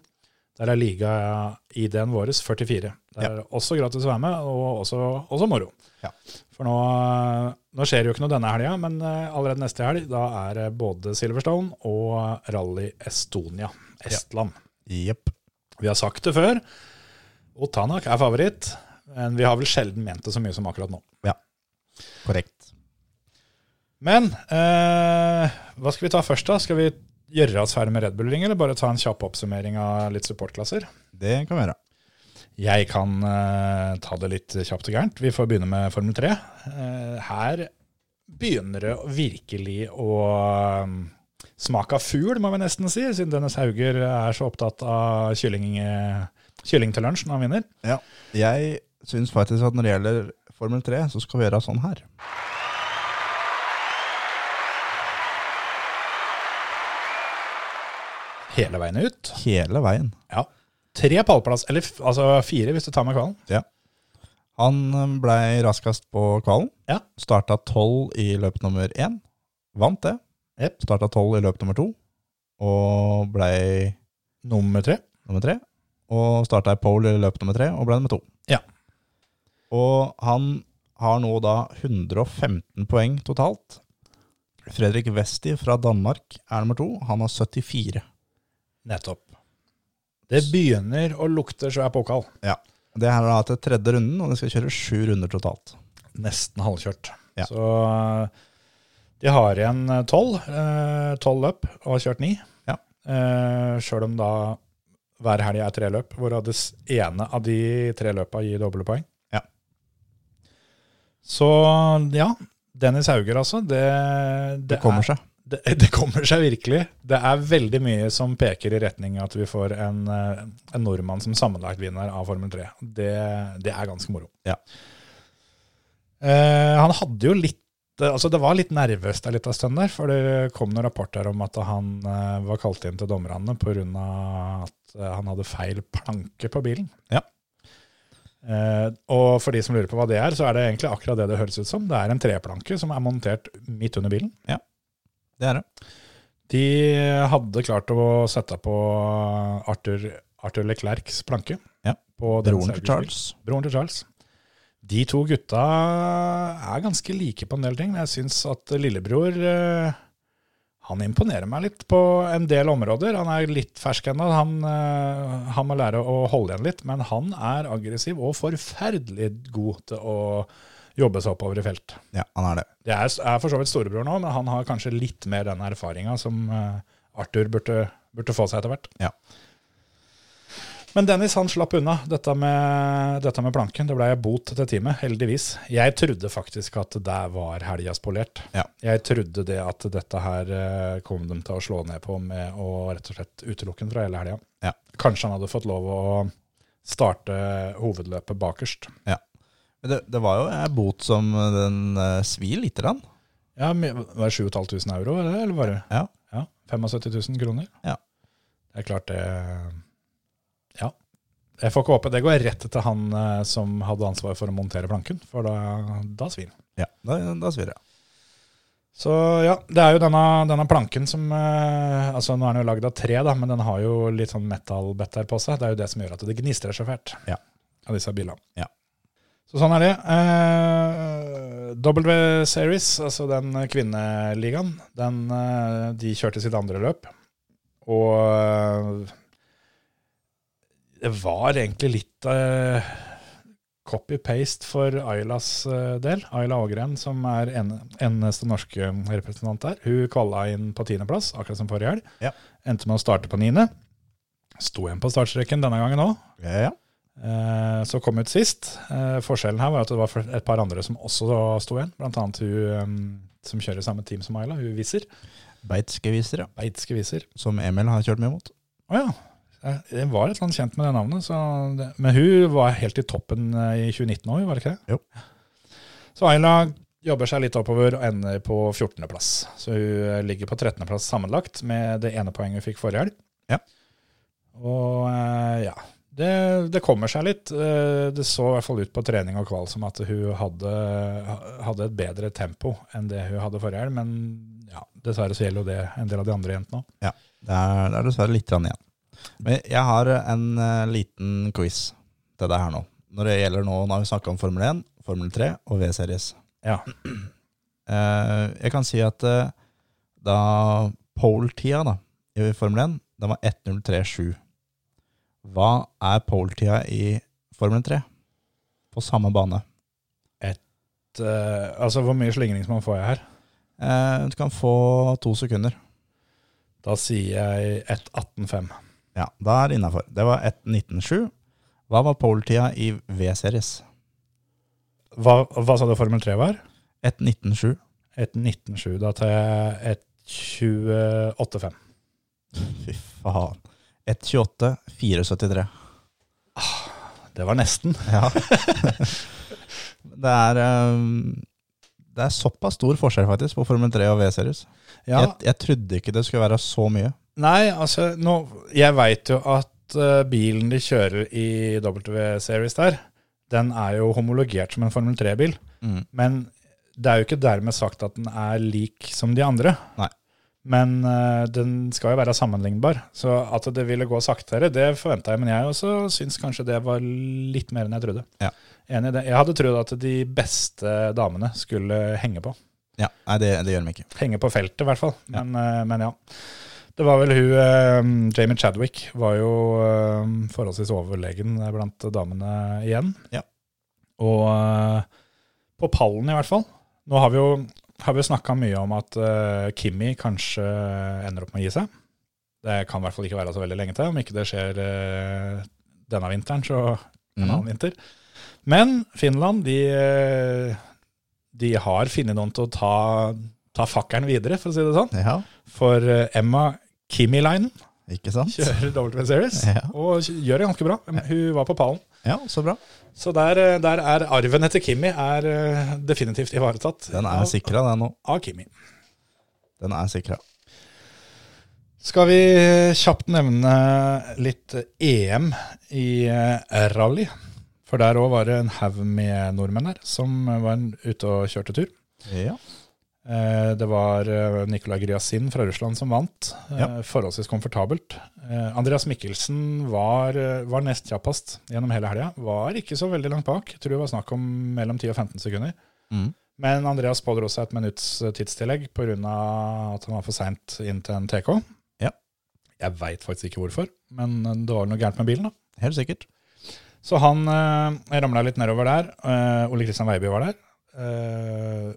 Der er liga-ID-en vår 44. Der Ja. er det også gratis å være med, og også, også moro. Ja. For nå, eh, nå skjer det jo ikke noe denne helga, men eh, allerede neste helg da er det både Silverstone og Rally Estonia, Estland. Jepp. Vi har sagt det før, Otanak er favoritt, men vi har vel sjelden ment det så mye som akkurat nå. Korrekt. Men eh, hva skal vi ta først, da? Skal vi gjøre oss ferdig med Red Bull Ring, eller bare ta en kjapp oppsummering av litt supportklasser? Det kan vi gjøre. Jeg kan eh, ta det litt kjapt og gærent. Vi får begynne med Formel 3. Eh, her begynner det virkelig å eh, smake av fugl, må vi nesten si, siden Dennis Hauger er så opptatt av kylling, eh, kylling til lunsj når han vinner. Jeg syns faktisk at når det gjelder Formel 3, så skal vi gjøre sånn her. Hele veien ut. Hele veien. Ja. Tre pallplass, eller f- altså fire hvis du tar med kvalen. Han blei raskest på kvalen. Ja. Starta tolv i løp nummer én. Vant det. Jep. Starta tolv i løp nummer to. Og blei Nummer tre. nummer tre. Og starta i pole i løp nummer tre, og ble nummer to. Ja. Og han har nå da 115 poeng totalt. Fredrik Westi fra Danmark er nummer to. Han har 74. Nettopp. Det begynner å lukte svær påkall. Det her er da til tredje runden, og de skal kjøre sju runder totalt. Nesten halvkjørt. Ja. Så eh, de har igjen eh, tolv. eh, Tolv løp og har kjørt ni. Ja. Eh, Sjøl om da hver helg er tre løp, hvorav det s- ene av de tre løpa gir doble poeng. Ja. Så ja, Dennis Hauger, altså. Det, det, Det kommer er, seg. Det, det kommer seg virkelig. Det er veldig mye som peker i retning at vi får en, eh, en nordmann som sammenlagtvinner av Formel 3. Det, det er ganske moro. Ja. Eh, han hadde jo litt eh, Altså Det var litt nervøst der litt av stund der, for det kom noen rapporter om at han eh, var kalt inn til dommerne pga. at eh, han hadde feil planke på bilen. Ja. Eh, og for de som lurer på hva det er, så er det egentlig akkurat det det høres ut som. Det er en treplanke som er montert midt under bilen. Det er det. De hadde klart å sette på Arthur, Arthur Leclercs planke. Ja. På Dennis Broren til Hauges bil. Charles. Broren til Charles. De to gutta er ganske like på en del ting, men jeg syns at lillebror eh, han imponerer meg litt på en del områder. Han er litt fersk ennå. Han, eh, han må lære å holde igjen litt, men han er aggressiv og forferdelig god til å jobbe seg oppover i felt. Ja, han er det. Det er, er for så vidt storebror nå, men han har kanskje litt mer den erfaringa som eh, Arthur burde, burde få seg etter hvert. Ja. Men Dennis han slapp unna dette med, dette med planken. Det ble bot til teamet, heldigvis. Jeg trodde faktisk at det var helga spolert. Ja. Jeg trodde det at dette her eh, kom de til å slå ned på med å rett og slett utelukke den fra hele helga. Ja. Kanskje han hadde fått lov å starte hovedløpet bakerst. Men det, det var jo en bot som den eh, svir lite grann. Ja, men Var det 7500 euro, var det det, eller var det? Ja. ja 75 000 kroner? Ja. Det er klart det Ja. Jeg får ikke håpe. Det går rett til han eh, som hadde ansvar for å montere planken, for da, da svir han. Ja, da, da svir det. Så ja, det er jo denne, denne planken som eh, Altså nå er den jo lagd av tre, da, men den har jo litt sånn metallbetter på seg. Det er jo det som gjør at det gnistrer så fælt Ja. av disse bilene. Ja. Så sånn er det. Eh, W-Series, altså den kvinneligaen, den, eh, de kjørte sitt andre løp. Og eh, det var egentlig litt eh, copy-paste for Aylas eh, del. Ayla Ågren, som er en, eneste norske representant der. Hun kvala inn på tiendeplass, akkurat som forrige helg. Ja. Endte med å starte på niende. Sto igjen på startstreken denne gangen òg. Ja, ja. Eh, Så kom ut sist. Eh, Forskjellen her var at det var et par andre som også sto igjen. Blant annet hun eh, som kjører samme team som Ayla, hun Wiser. Beitsgeviser, ja. Beitske Wiser. Som Emil har kjørt mye mot. Å ja. Eh, Det var et eller annet kjent med det navnet. Så det, men hun var helt i toppen eh, i 2019 òg, var det ikke det? Jo. Så Ayla jobber seg litt oppover og ender på 14.-plass. Så hun eh, ligger på 13.-plass sammenlagt med det ene poenget hun fikk forrige helg. Ja. Og eh, ja. Det, det kommer seg litt. Eh, Det så i hvert fall ut på trening og kval som at hun hadde, hadde et bedre tempo enn det hun hadde forrige helg, men ja, dessverre så gjelder jo det en del av de andre jentene òg. Det er, det er dessverre litt grann igjen. Men jeg har en eh, liten quiz til deg her nå. Når det gjelder nå, nå har vi snakka om Formel 1, Formel 3 og V-series. Ja. Eh, jeg kan si at eh, da pole-tida da, i Formel 1, den var 1.03,7. Hva er pole-tida i Formel 3? På samme bane. eh, altså hvor mye slingringsmonn får jeg her? Eh, du kan få to sekunder. Da sier jeg 1.18,5. Ja, da er det innafor. Det var 1.19,7. Hva var pole-tida i V-series? Hva, hva sa du Formel 3 var? 1.19,7. 1.19,7. Da tar jeg 1.28,5. Fy faen. 1,28, 4,73. Det var nesten. Ja. det, er, ehm, det er såpass stor forskjell faktisk på Formel 3 og V-series. Ja, Jeg, jeg trodde ikke det skulle være så mye. Nei, altså nå, Jeg veit jo at eh, bilen de kjører i W-series der, den er jo homologert som en Formel 3-bil. Mm. Men det er jo ikke dermed sagt at den er lik som de andre. Nei. Men eh, den skal jo være sammenlignbar. Så at det ville gå saktere, det forventa jeg. Men jeg også syns kanskje det var litt mer enn jeg trodde. Ja. Enig i det. Jeg hadde trodd at de beste damene skulle henge på. Ja, Nei, det, det gjør de ikke. Henge på feltet, i hvert fall. Men ja. Men ja. Det var vel hun eh, Jamie Chadwick var jo eh, forholdsvis overlegen blant damene igjen. Ja. Og eh, på pallen, i hvert fall. Nå har vi jo har vi snakka mye om at eh, Kimmi kanskje ender opp med å gi seg. Det kan i hvert fall ikke være så veldig lenge til. Om ikke det skjer eh, denne vinteren, så en Mm. annen vinter. Men Finland, de, eh, de har funnet noen til å ta, ta fakkelen videre, for å si det sånn. Ja, For eh, Emma Kimmileinen ikke sant? kjører W-series Ja. og gjør det ganske bra. Hun var på pallen. Ja, så bra. Så der, eh, der er arven etter Kimmi er eh, definitivt ivaretatt Den er av, sikra, den nå. av Kimmi. Den er sikra. Skal vi eh, kjapt nevne litt eh, EM i eh, rally? For der òg var det en haug med nordmenn her som eh, var ute og kjørte tur. Ja. Eh, Det var eh, Nikolai Gryasin fra Russland som vant, eh, Ja. forholdsvis komfortabelt. Eh, Andreas Mikkelsen var, eh, var nest kjappest gjennom hele helga. Var ikke så veldig langt bak, tror det var snakk om mellom 10 og 15 sekunder. Mm. Men Andreas pådro seg et minutts eh, tidstillegg pga. at han var for seint inn til en TK. Ja. Jeg veit faktisk ikke hvorfor, men eh, det var noe gærent med bilen. da. Helt sikkert. Så han eh, ramla litt nedover der. Eh, Ole Kristian Weiby var der. Eh,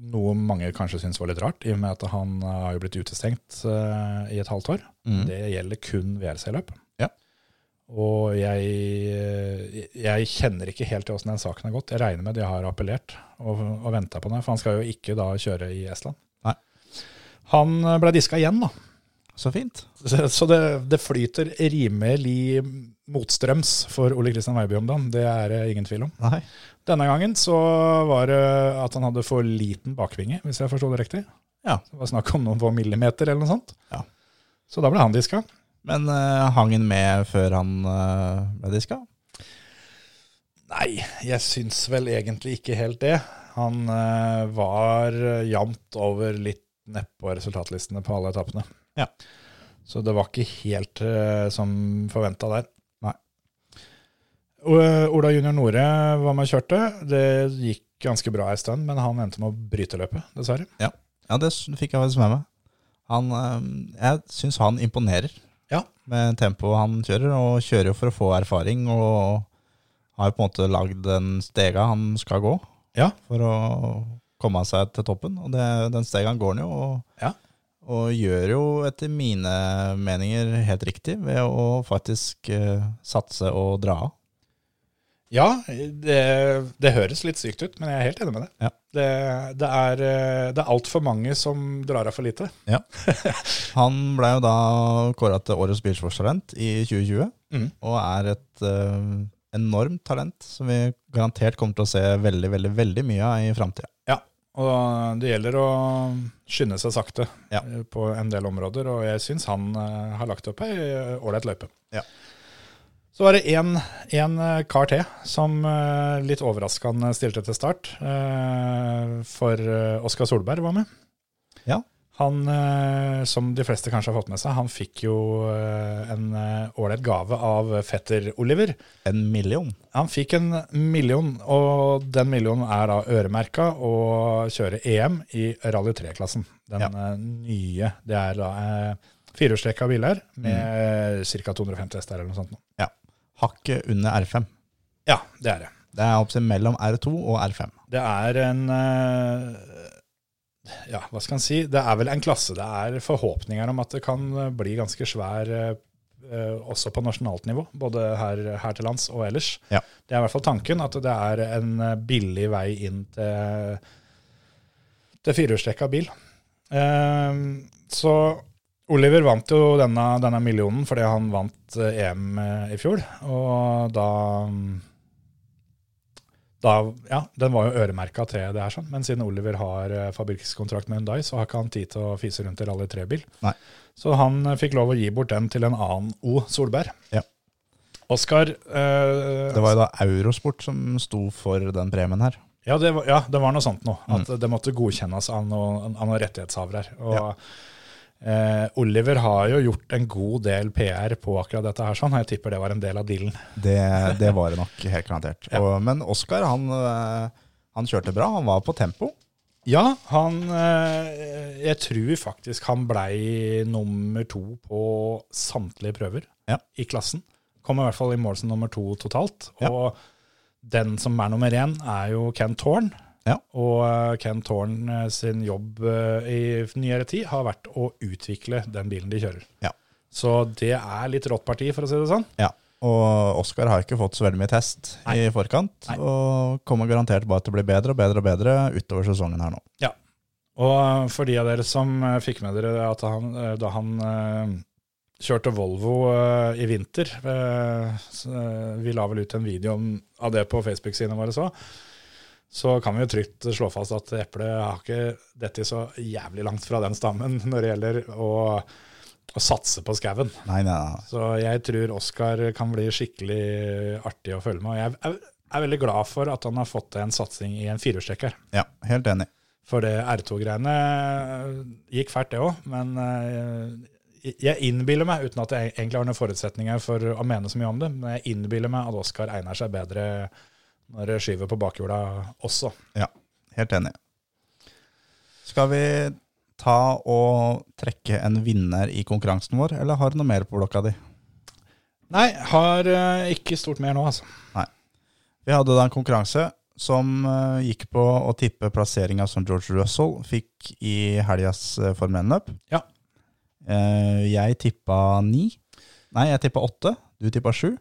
noe mange kanskje syns var litt rart, i og med at han eh, har jo blitt utestengt eh, i et halvt år. Mm. Det gjelder kun VRC-løp. Ja. Og jeg, jeg kjenner ikke helt til åssen den saken har gått. Jeg regner med de har appellert og, og venta på det, for han skal jo ikke da kjøre i Estland. Nei. Han eh, ble diska igjen, da. Så fint. Så så det, det flyter rimelig motstrøms for Ole Kristian Weiby om dagen. Det er det ingen tvil om. Nei. Denne gangen så var det eh, at han hadde for liten bakvinge, hvis jeg forsto det riktig. Ja. Det var snakk om noen få millimeter eller noe sånt. Ja. Så da ble han diska. Men eh, hang han med før han eh, ble diska? Nei, jeg syns vel egentlig ikke helt det. Han eh, var eh, jevnt over litt nedpå resultatlistene på alle etappene. Ja. Så det var ikke helt eh, som forventa der. Nei. O- eh, Ola junior Nore var med og kjørte. Det gikk ganske bra en stund, men han endte med å bryte løpet, dessverre. Ja, det s- fikk jeg faktisk med meg. Han, eh, jeg syns han imponerer Ja. med tempoet han kjører, og kjører jo for å få erfaring. Og har jo på en måte lagd den stega han skal gå Ja. for å komme seg til toppen. Og det, den stegaen går han jo, og, Ja. og gjør jo etter mine meninger helt riktig ved å faktisk eh, satse og dra av. Ja, det, det høres litt sykt ut, men jeg er helt enig med det. Ja. Det, det er, eh, det er altfor mange som drar av for lite. Han ble jo da kåra til årets bilsportstalent i 2020, Mhm. og er et eh, enormt talent som vi garantert kommer til å se veldig, veldig veldig mye av i framtida. Og det gjelder å skynde seg sakte Ja. eh, på en del områder, og jeg syns han eh, har lagt opp ei eh, ålreit løype. Ja. Så var det én kar til som eh, litt overraskende stilte til start, eh, for eh, Oskar Solberg var med. Ja. Han, eh, som de fleste kanskje har fått med seg, han fikk jo eh, en eh, ålreit gave av fetter Oliver. En million. Han fikk en million, og den millionen er da øremerka å kjøre EM i Rally 3-klassen. Den Ja. eh, nye. Det er da eh, firehjulstrekka biler med ca. 250 hester eller noe sånt. nå. Hakket under R5. Ja, det er det. Det er opptil mellom R2 og R5. Det er en eh, Ja, hva skal en si? Det er vel en klasse. Det er forhåpninger om at det kan eh, bli ganske svær eh, eh, også på nasjonalt nivå, både her, her til lands og ellers. Ja. Det er i hvert fall tanken, at det er en eh, billig vei inn til, til firehjulstrekka bil. Eh, så Oliver vant jo denne, denne millionen fordi han vant eh, EM i fjor, og da da, ja, Den var jo øremerka til det her, sånn. men siden Oliver har eh, fabrikkskontrakt med Hyundai, så har ikke han tid til å fise rundt i Rally 3-bil. Nei. Så han eh, fikk lov å gi bort den til en annen O. Solberg. Ja. Oskar eh, Det var jo da Eurosport som sto for den premien her. ja, det var, ja, det var noe sånt nå. At det måtte godkjennes av noen, av noen rettighetshavere. Og eh, Oliver har jo gjort en god del PR på akkurat dette her, sånn. og Jeg tipper det var en del av dealen. Det, det var det nok, helt garantert. Og, men Oskar, han, eh, han kjørte bra. Han var på tempo. Ja, han eh, Jeg tror faktisk han blei nummer to på samtlige prøver Ja. i klassen. Kom i hvert fall i mål som nummer to totalt. Ja. Og den som er nummer én, er jo Ken Thorne. Ja. Og eh, Ken Thorne eh, sin jobb eh, i nyere tid har vært å utvikle den bilen de kjører. Ja. Så det er litt rått parti, for å si det sånn. Ja, og Oskar har ikke fått så veldig mye test i forkant, Nei. og kommer garantert bare til å bli bedre og bedre og bedre utover sesongen her nå. Ja. Og for de av dere som eh, fikk med dere at han, eh, da han eh, kjørte Volvo eh, i vinter eh, så, eh, Vi la vel ut en video om, av det på Facebook-sidene våre så. Så kan vi jo trygt slå fast at eplet har ikke dette så jævlig langt fra den stammen når det gjelder å, å satse på skauen. Nei, nei, nei. Så jeg tror Oskar kan bli skikkelig artig å følge med. Og jeg er, er veldig glad for at han har fått til en satsing i en firehjulstrekker. Ja, helt enig. For det R2-greiene gikk fælt, det òg. Men eh, jeg innbiller meg, uten at jeg egentlig har noen forutsetninger for å mene så mye om det, men jeg innbiller meg at Oskar egner seg bedre når det skyver på bakhjula også. Ja, helt enig. Skal vi ta og trekke en vinner i konkurransen vår, eller har du noe mer på blokka di? Nei, har eh, ikke stort mer nå, altså. Vi hadde da en konkurranse som eh, gikk på å tippe plasseringa som George Russell fikk i helgas eh, Formel 1-løp. Ja. Eh, Jeg tippa ni. Nei, jeg tippa åtte. Du tippa sju.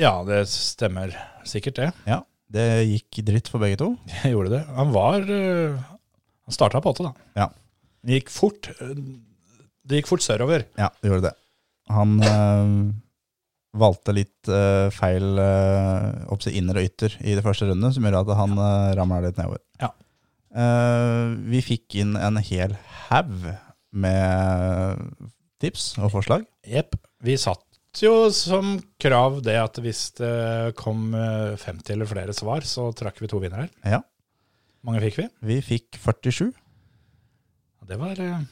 Ja, det stemmer sikkert, det. Ja, det gikk dritt for begge to. Jeg gjorde det. Han var eh, Han starta på åtte, da. Ja. Det gikk fort. eh, Det gikk fort sørover. Ja, det gjorde det. Han eh, valgte litt eh, feil eh, opp til inner og ytter i det første rundet, som gjør at han uh, ramla litt nedover. Ja. Eh, vi fikk inn en hel haug med tips og forslag. Jepp. Vi satt jo som krav det at hvis det kom eh, 50 eller flere svar, så trakk vi to vinnere. Ja. mange fikk vi? Vi fikk 47. Ja, Det var, eh,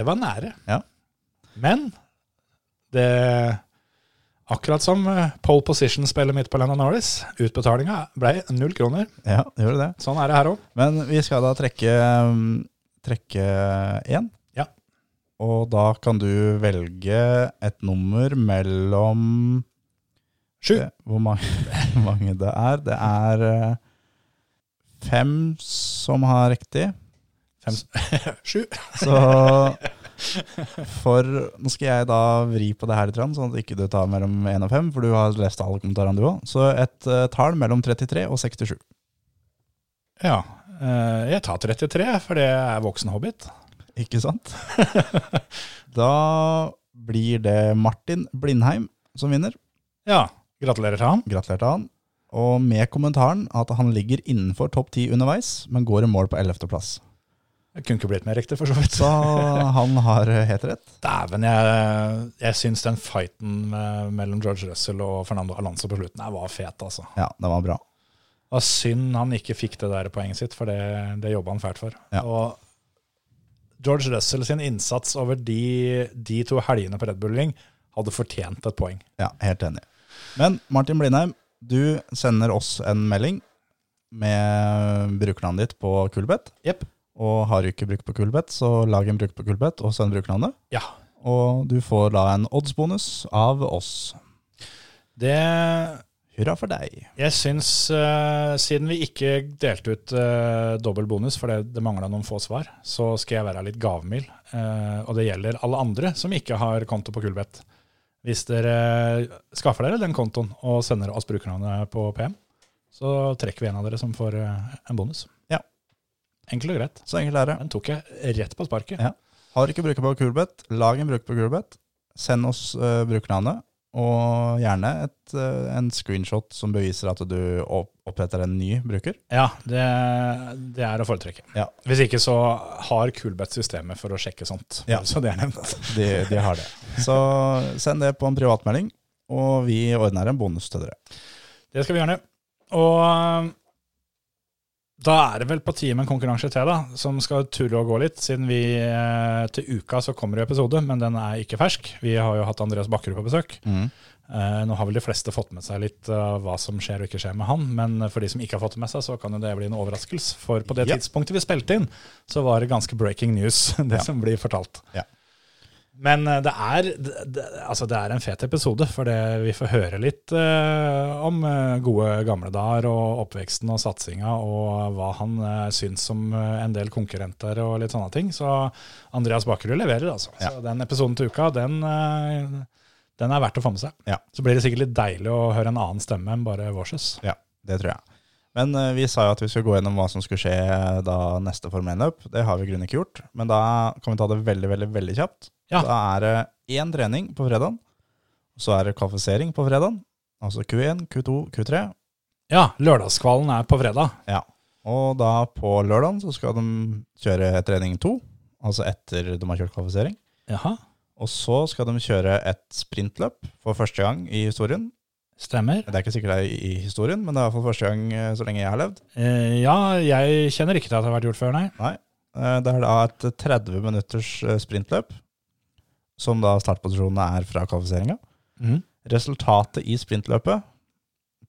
det var nære. Ja. Men det Akkurat som eh, pole position-spillet mitt på Lennon Norris, utbetalinga ble null kroner. Ja, det gjorde det. Sånn er det her òg. Men vi skal da trekke um, trekke én. Ja. Og da kan du velge et nummer mellom Sju. Eh, Hvor mange, hvor mange det er. Det er eh, fem som har riktig. Sju. Så for Nå skal jeg da vri på det her litt, grann, sånn at ikke du tar mellom én og fem, for du har lest alle kommentarene du òg. Så et eh, tall mellom 33 og 67. Ja. eh, Jeg tar 33, for det er voksen hobbit. Ikke sant? da blir det Martin Blindheim som vinner. Ja. Gratulerer til ham. Gratulerer til han. Og med kommentaren at han ligger innenfor topp ti underveis, men går i mål på 11.-plass. Jeg kunne ikke blitt mer riktig, for så vidt. Så han har helt rett. Dæven, jeg, jeg syns den fighten med, mellom George Russell og Fernando Alonso på slutten her var fet, altså. Ja, det var bra. Det var synd han ikke fikk det der poenget sitt, for det, det jobba han fælt for. Ja. Og George Russell sin innsats over de, de to helgene på Red Bull Ring hadde fortjent et poeng. Ja, helt enig. Men Martin Blindheim, du sender oss en melding med brukernavnet ditt på Kulbeth. Jepp. Og har du ikke bruk på Kulbeth, så lag en bruk på Kulbeth og send brukernavnet. Ja. Og du får da en oddsbonus av oss. Det Hurra for deg. Jeg syns, eh, siden vi ikke delte ut uh, dobbel bonus fordi det, det mangla noen få svar, så skal jeg være litt gavmild. Eh, og det gjelder alle andre som ikke har konto på Kulbeth. Hvis dere skaffer dere den kontoen og sender oss brukernavnet på PM, så trekker vi en av dere som får eh, en bonus. Ja. Enkelt og greit. Så enkelt er det. Den tok jeg rett på sparket. Ja. Har du ikke bruker på Kulbeth, lag en bruker på Kulbeth. Send oss eh, brukernavnet, og gjerne et, eh, en screenshot som beviser at du opp- oppretter en ny bruker. Ja, det, det er å foretrekke. Ja. Hvis ikke så har Kulbeth systemet for å sjekke sånt. Ja. Så det er nevnt. De, de har det. Så send det på en privatmelding, og vi ordner en bonus til dere. Det skal vi gjerne. Og um, da er det vel på tide med en konkurranse til, da, som skal turre og gå litt. Siden vi eh, til uka så kommer det episode, men den er ikke fersk. Vi har jo hatt Andreas Bakkerud på besøk. Eh, nå har vel de fleste fått med seg litt av hva som skjer og ikke skjer med han, men eh, for de som ikke har fått det med seg, så kan jo det bli en overraskelse. For på det Ja. tidspunktet vi spilte inn, så var det ganske breaking news, det som blir fortalt. Ja. Men eh, det er, det, det, altså det er en fet episode, for det, vi får høre litt eh, om eh, gode gamle dager og oppveksten og satsinga, og hva han eh, syns om eh, en del konkurrenter og litt sånne ting. Så Andreas Bakkerud leverer, altså. Så den episoden til uka, den, eh, den er verdt å få med seg. Ja. Så blir det sikkert litt deilig å høre en annen stemme enn bare vårses. Ja, det tror jeg. Men eh, vi sa jo at vi skulle gå gjennom hva som skulle skje da neste Formel 1-løp. Det har vi i grunnen ikke gjort, men da kan vi ta det veldig, veldig veldig kjapt. Ja. Da er det én trening på fredagen, så er det kvalifisering på fredagen. Altså Q1, Q2, Q3. Ja, lørdagskvalen er på fredag. Ja. Og da på lørdagen så skal de kjøre trening to, altså etter de har kjørt kvalifisering. Jaha, Og så skal de kjøre et sprintløp for første gang i historien. stemmer. Det er ikke sikkert det er i historien, men det er iallfall første gang eh, så lenge jeg har levd. Eh, ja, jeg kjenner ikke til at det har vært gjort før, nei. Nei. Eh, Det er da et 30 minutters eh, sprintløp, som da startposisjonene er fra kvalifiseringa. Mhm. Resultatet i sprintløpet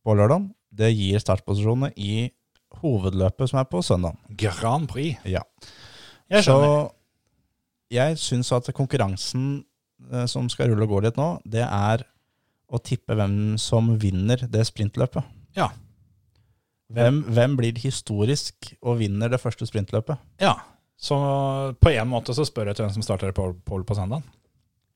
på lørdag, det gir startposisjonene i hovedløpet som er på søndag. Grand Prix. Ja. Jeg Så skjønner. jeg syns at konkurransen eh, som skal rulle og gå litt nå, det er å tippe hvem som vinner det sprintløpet. Ja. Hvem, hvem blir historisk og vinner det første sprintløpet? Ja, så på en måte så spør jeg til hvem som starter på Pole på søndagen.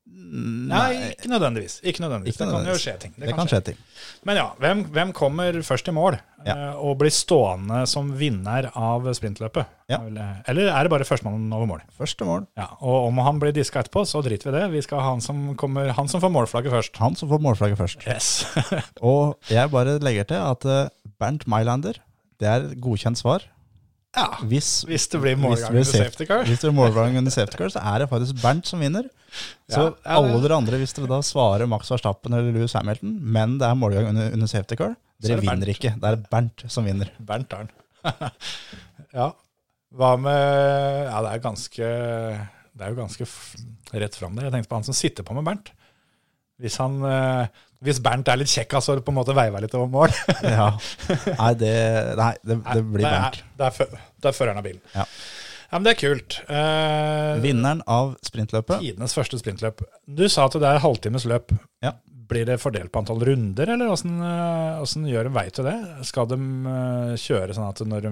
Nei, ikke nødvendigvis. Ikke nødvendigvis. Ikke Det kan jo nødvendigvis. skje ting. Det kan skje ting. Men ja, hvem, hvem kommer først i mål Ja. eh, og blir stående som vinner av sprintløpet? Ja. Eller- Eller er det bare førstemann over mål? Første mål. Ja, og om han blir diska etterpå, så driter vi i det. Vi skal ha han som, kommer, han som får målflagget først. Han som får målflagget først. Yes. Og jeg bare legger til at eh, Bernt Meilander, det er et godkjent svar. ja, Hvis, hvis det blir hvis målgang under saf- safety car. Hvis det blir målgang under safety car, så er det faktisk Bernt som vinner. Så Ja, ja, det- alle dere andre, hvis dere da svarer Max Verstappen eller Louis Hamilton, men det er målgang under, under safety car, er dere det vinner Bernt. ikke. Det er Bernt som vinner. Bernt Arn. Ja. Hva med Ja, det er ganske Det er jo ganske f- rett fram der. Jeg tenkte på han som sitter på med Bernt. Hvis han eh, Hvis Bernt er litt kjekk, altså, på en måte veiver litt over mål. Ja. Nei, det, nei, det, det blir det, Bernt. er, det, er fø- det er føreren av bilen. Ja. Ja, men det er kult. Eh, Vinneren av sprintløpet. Tidenes første sprintløp. Du sa at det er halvtimes løp. Ja. Blir det fordelt på antall runder, eller åssen eh, åssen gjør de vei til det? Skal de eh, kjøre sånn at når, de,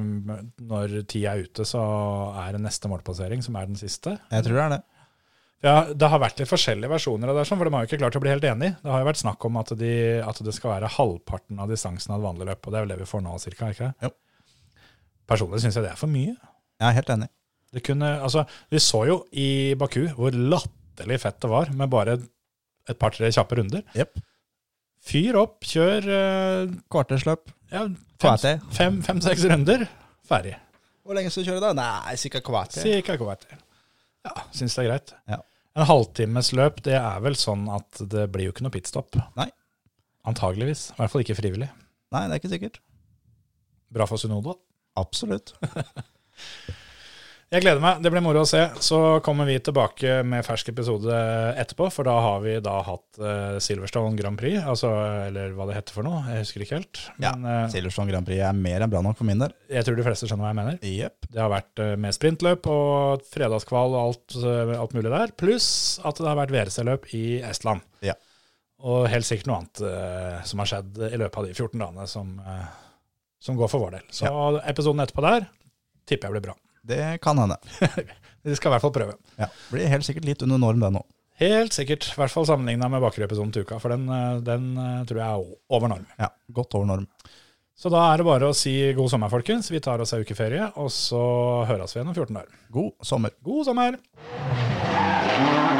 når tida er ute, så er det neste målpassering, som er den siste? Jeg tror det er det. Ja, Det har vært litt forskjellige versjoner av det, her, sånn, for de har jo ikke klart å bli helt enige. Det har jo vært snakk om at, de, at det skal være halvparten av distansen av et vanlig løp, og det er vel det vi får nå, cirka? ikke det? Jo. Personlig syns jeg det er for mye. Jeg er helt enig. Det kunne, altså, vi så jo i Baku hvor latterlig fett det var med bare et par-tre kjappe runder. Jepp. Fyr opp, kjør eh, Kvartersløp. ja, Få fem-seks til. fem, fem, seks runder, ferdig. Hvor lenge skal du kjøre da? Nei, cirka kvarter. Cirka hva etter. Ja, syns det er greit. Ja. En halvtimes løp, det er vel sånn at det blir jo ikke noe pitstop. Nei. Antageligvis. I hvert fall ikke frivillig. Nei, det er ikke sikkert. Bra for Sunoda. Absolutt. Jeg gleder meg. Det blir moro å se. Så kommer vi tilbake med fersk episode etterpå, for da har vi da hatt eh, Silverstone Grand Prix, altså, eller hva det heter for noe. Jeg husker ikke helt. Ja, Men eh, Silverstone Grand Prix er mer enn bra nok for min del. jeg tror de fleste skjønner hva jeg mener. Jepp. Det har vært eh, med sprintløp og fredagskval og alt, eh, alt mulig der, pluss at det har vært VRC-løp i Estland. Ja. Og helt sikkert noe annet eh, som har skjedd i løpet av de 14 dagene som, eh, som går for vår del. Så episoden etterpå der tipper jeg blir bra. Det kan hende. Vi skal i hvert fall prøve. Ja. Blir helt sikkert litt under norm, den òg. Helt sikkert. I hvert fall sammenligna med Bakerud-episoden til uka, for den, eh, den eh, tror jeg er o- over norm. Ja, godt over norm. Så da er det bare å si god sommer, folkens. Vi tar oss ei ukeferie, og så høres vi igjen om 14 dager. God sommer. God sommer! Thank